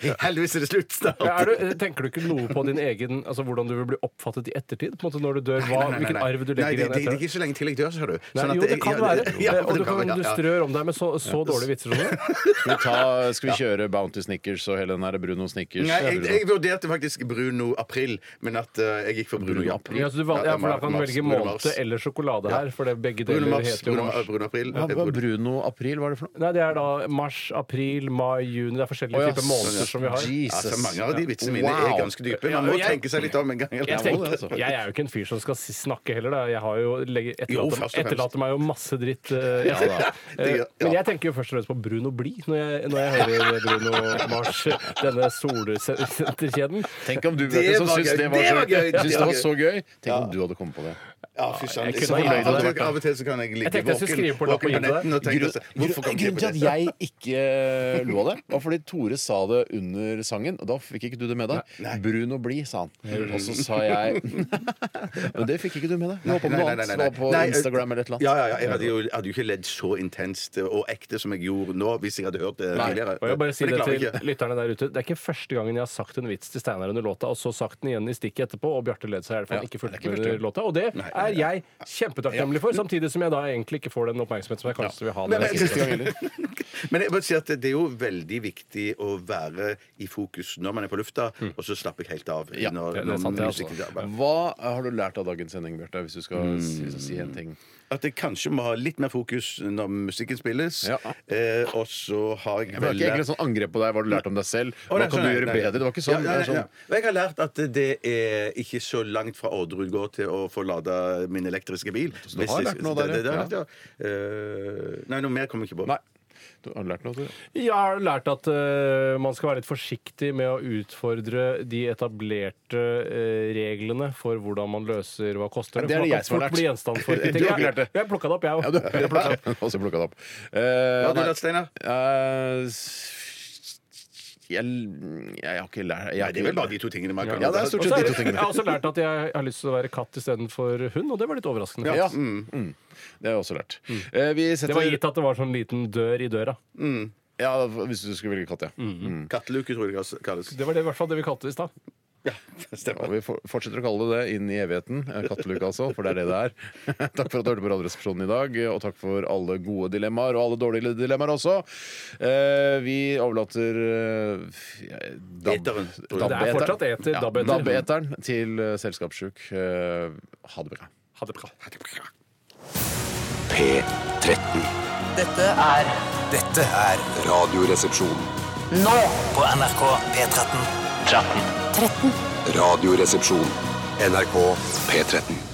det. *laughs* Heldigvis er det slutt snart. Ja, Er du, eh, tenker du ikke noe på din egen altså hvordan du vil bli oppfattet i ettertid? På en måte når du dør, hva, Hvilken arv du Nei, det, legger igjen det, det er etter ikke så lenge til jeg dør, ser du. Nei, Sånn at jo, det kan være. Ja, Eh, og du, det kan, være, ja, du ja. strør om deg med så, så dårlige vitser som det. Skal vi, ta, *laughs* skal vi kjøre Bounty Snickers og hele den der Bruno Snickers? Nei, jeg, Bruno. jeg vurderte faktisk Bruno April, men at eh, jeg gikk for Bruno Japp. Ja, så Altså, du valg, ja, for da kan du Mars, velge Bruno Mars. måned eller sjokolade her, for det begge Bruno deler Mars, heter jo Bruno, mars. Bruno April. Hva eh, var Bruno- Bruno April, hva er det for noe? Nei, det er da mars, april, mai, juni. Det er forskjellige Å, ja, typer måneder som vi har. Altså, Jesus. mange av de vitsene mine er Wow. ganske dype. Ja, Man må jeg- tenke seg litt om en gang. eller? Jeg, må det, tenkte, altså. *laughs* jeg er jo ikke en fyr som skal si- snakke heller. Da. Jeg har jo legger, Jo, etterlater, først og fremst. etterlater meg jo masse dritt. eh, jeg- da. Det gjør- Eh, Men ja. jeg tenker jo først og fremst på Bruno Bli når jeg, når jeg hører Bruno Mars, *laughs* denne solsenterkjeden. Tenk om du Det Bjarte, som var syns gøy. det var Det så var gøy. Syns det Ja. var så gøy. Tenk om du hadde kommet på det. Ja, fy søren. jeg Jeg kunne ha fornøyd. gitt det. Av og til- Av og til så kan jeg ligge tenkte jeg skulle skrive på våken lappen på hjemme der. netten og tenke Grunn- Hvorfor kom jeg Grunnen på til at det? jeg ikke eh, lo av det, var fordi Tore sa det under sangen. Og da fikk ikke du det med deg. Bruno Bli, sa han. Og så sa jeg *laughs* Men det fikk ikke du med deg. Du var på noe annet. Du var på Nei, Instagram eller et eller Ja, annet. ja, ja, jeg hadde jo, hadde jo ikke ledd så intenst eh, og ekte som jeg gjorde nå, hvis jeg hadde hørt det Nei. tidligere. Og jeg bare si Men jeg det klarer til ikke. lytterne der ute Det er ikke første gangen jeg har sagt en vits til Steinar under låta, og så sagt den igjen i stikket etterpå, og Bjarte led seg i hjel for Ja, han ikke det er fulgte ikke med første under låta. Og det er jeg kjempetakknemlig for, samtidig som jeg da egentlig ikke får den oppmerksomhet som jeg kanskje vil ha. når *laughs* jeg sier det. Men jeg må si at det er jo veldig viktig å være i fokus når man er på lufta, og så slapper jeg helt av. Ja, når, Mm. det- det er sant, det, altså. musikken er bare- Hva har du lært av dagens sending, Bjarte, hvis du skal si, si en ting? At jeg kanskje må ha litt mer fokus når musikken spilles. Ja. Eh, og så har jeg Det var vel ikke egentlig lært et sånn angrep på deg. Hva har du lært om deg selv? Å, Hva nei, kan du sånn, gjøre nei, bedre? Det var ikke sånn. Ja, Det nei, er sånn nei. Og Jeg har lært at det er ikke så langt fra Orderud gård til å få lada min elektriske bil. Så du har lært noe der, det, det, ja. har jeg lært, ja. Eh, Nei, noe mer kommer jeg ikke på. Nei. Du har lært noe, Tore? Jeg har lært at eh, man skal være litt forsiktig med å utfordre de etablerte eh, reglene for hvordan man løser hva koster. Det er det jeg som har lært. Fort bli gjenstand for *laughs* kritikk. Du har ikke lært det. Jeg, jeg plukka det opp, jeg Ja, òg. du har plukket opp. *laughs* Og så plukket det opp. Eh, Hva har du nei. lært, Steinar? Eh, s- jeg, jeg har ikke lært jeg har Nei, det er vel ikke- bare de to tingene man kan Ja, det er stort Og sett så de er to det- Jeg tingene. har også lært at jeg har lyst til å være katt istedenfor hund, og det var litt overraskende. Ja, mm, mm. Det har jeg også lært. Mm. Eh, vi setter, Det var gitt at det var sånn liten dør i døra. Ja, Hvis du skulle velge katt, ja. Katteluke, tror jeg det kalles. *laughs* Det var det, i hvert fall det vi kalte det i stad. Ja, det Og stemmer. vi for- fortsetter å kalle det det inn i evigheten. Eh, Katteluke, altså. For det er *laughs* det det er. Takk for at du hørte på Radioresepsjonen i dag, og takk for alle gode dilemmaer, og alle dårlige dilemmaer også. Eh, vi overlater eh, dab- Eteren. Det er fortsatt eter, Ja, dabbeter. Dabbeeteren til eh, Selskapssjuk. Eh, ha det bra. Ha det bra. Ja. P13. Dette er Dette er Radioresepsjonen. nå på NRK P13. 13. Radioresepsjon. NRK P13.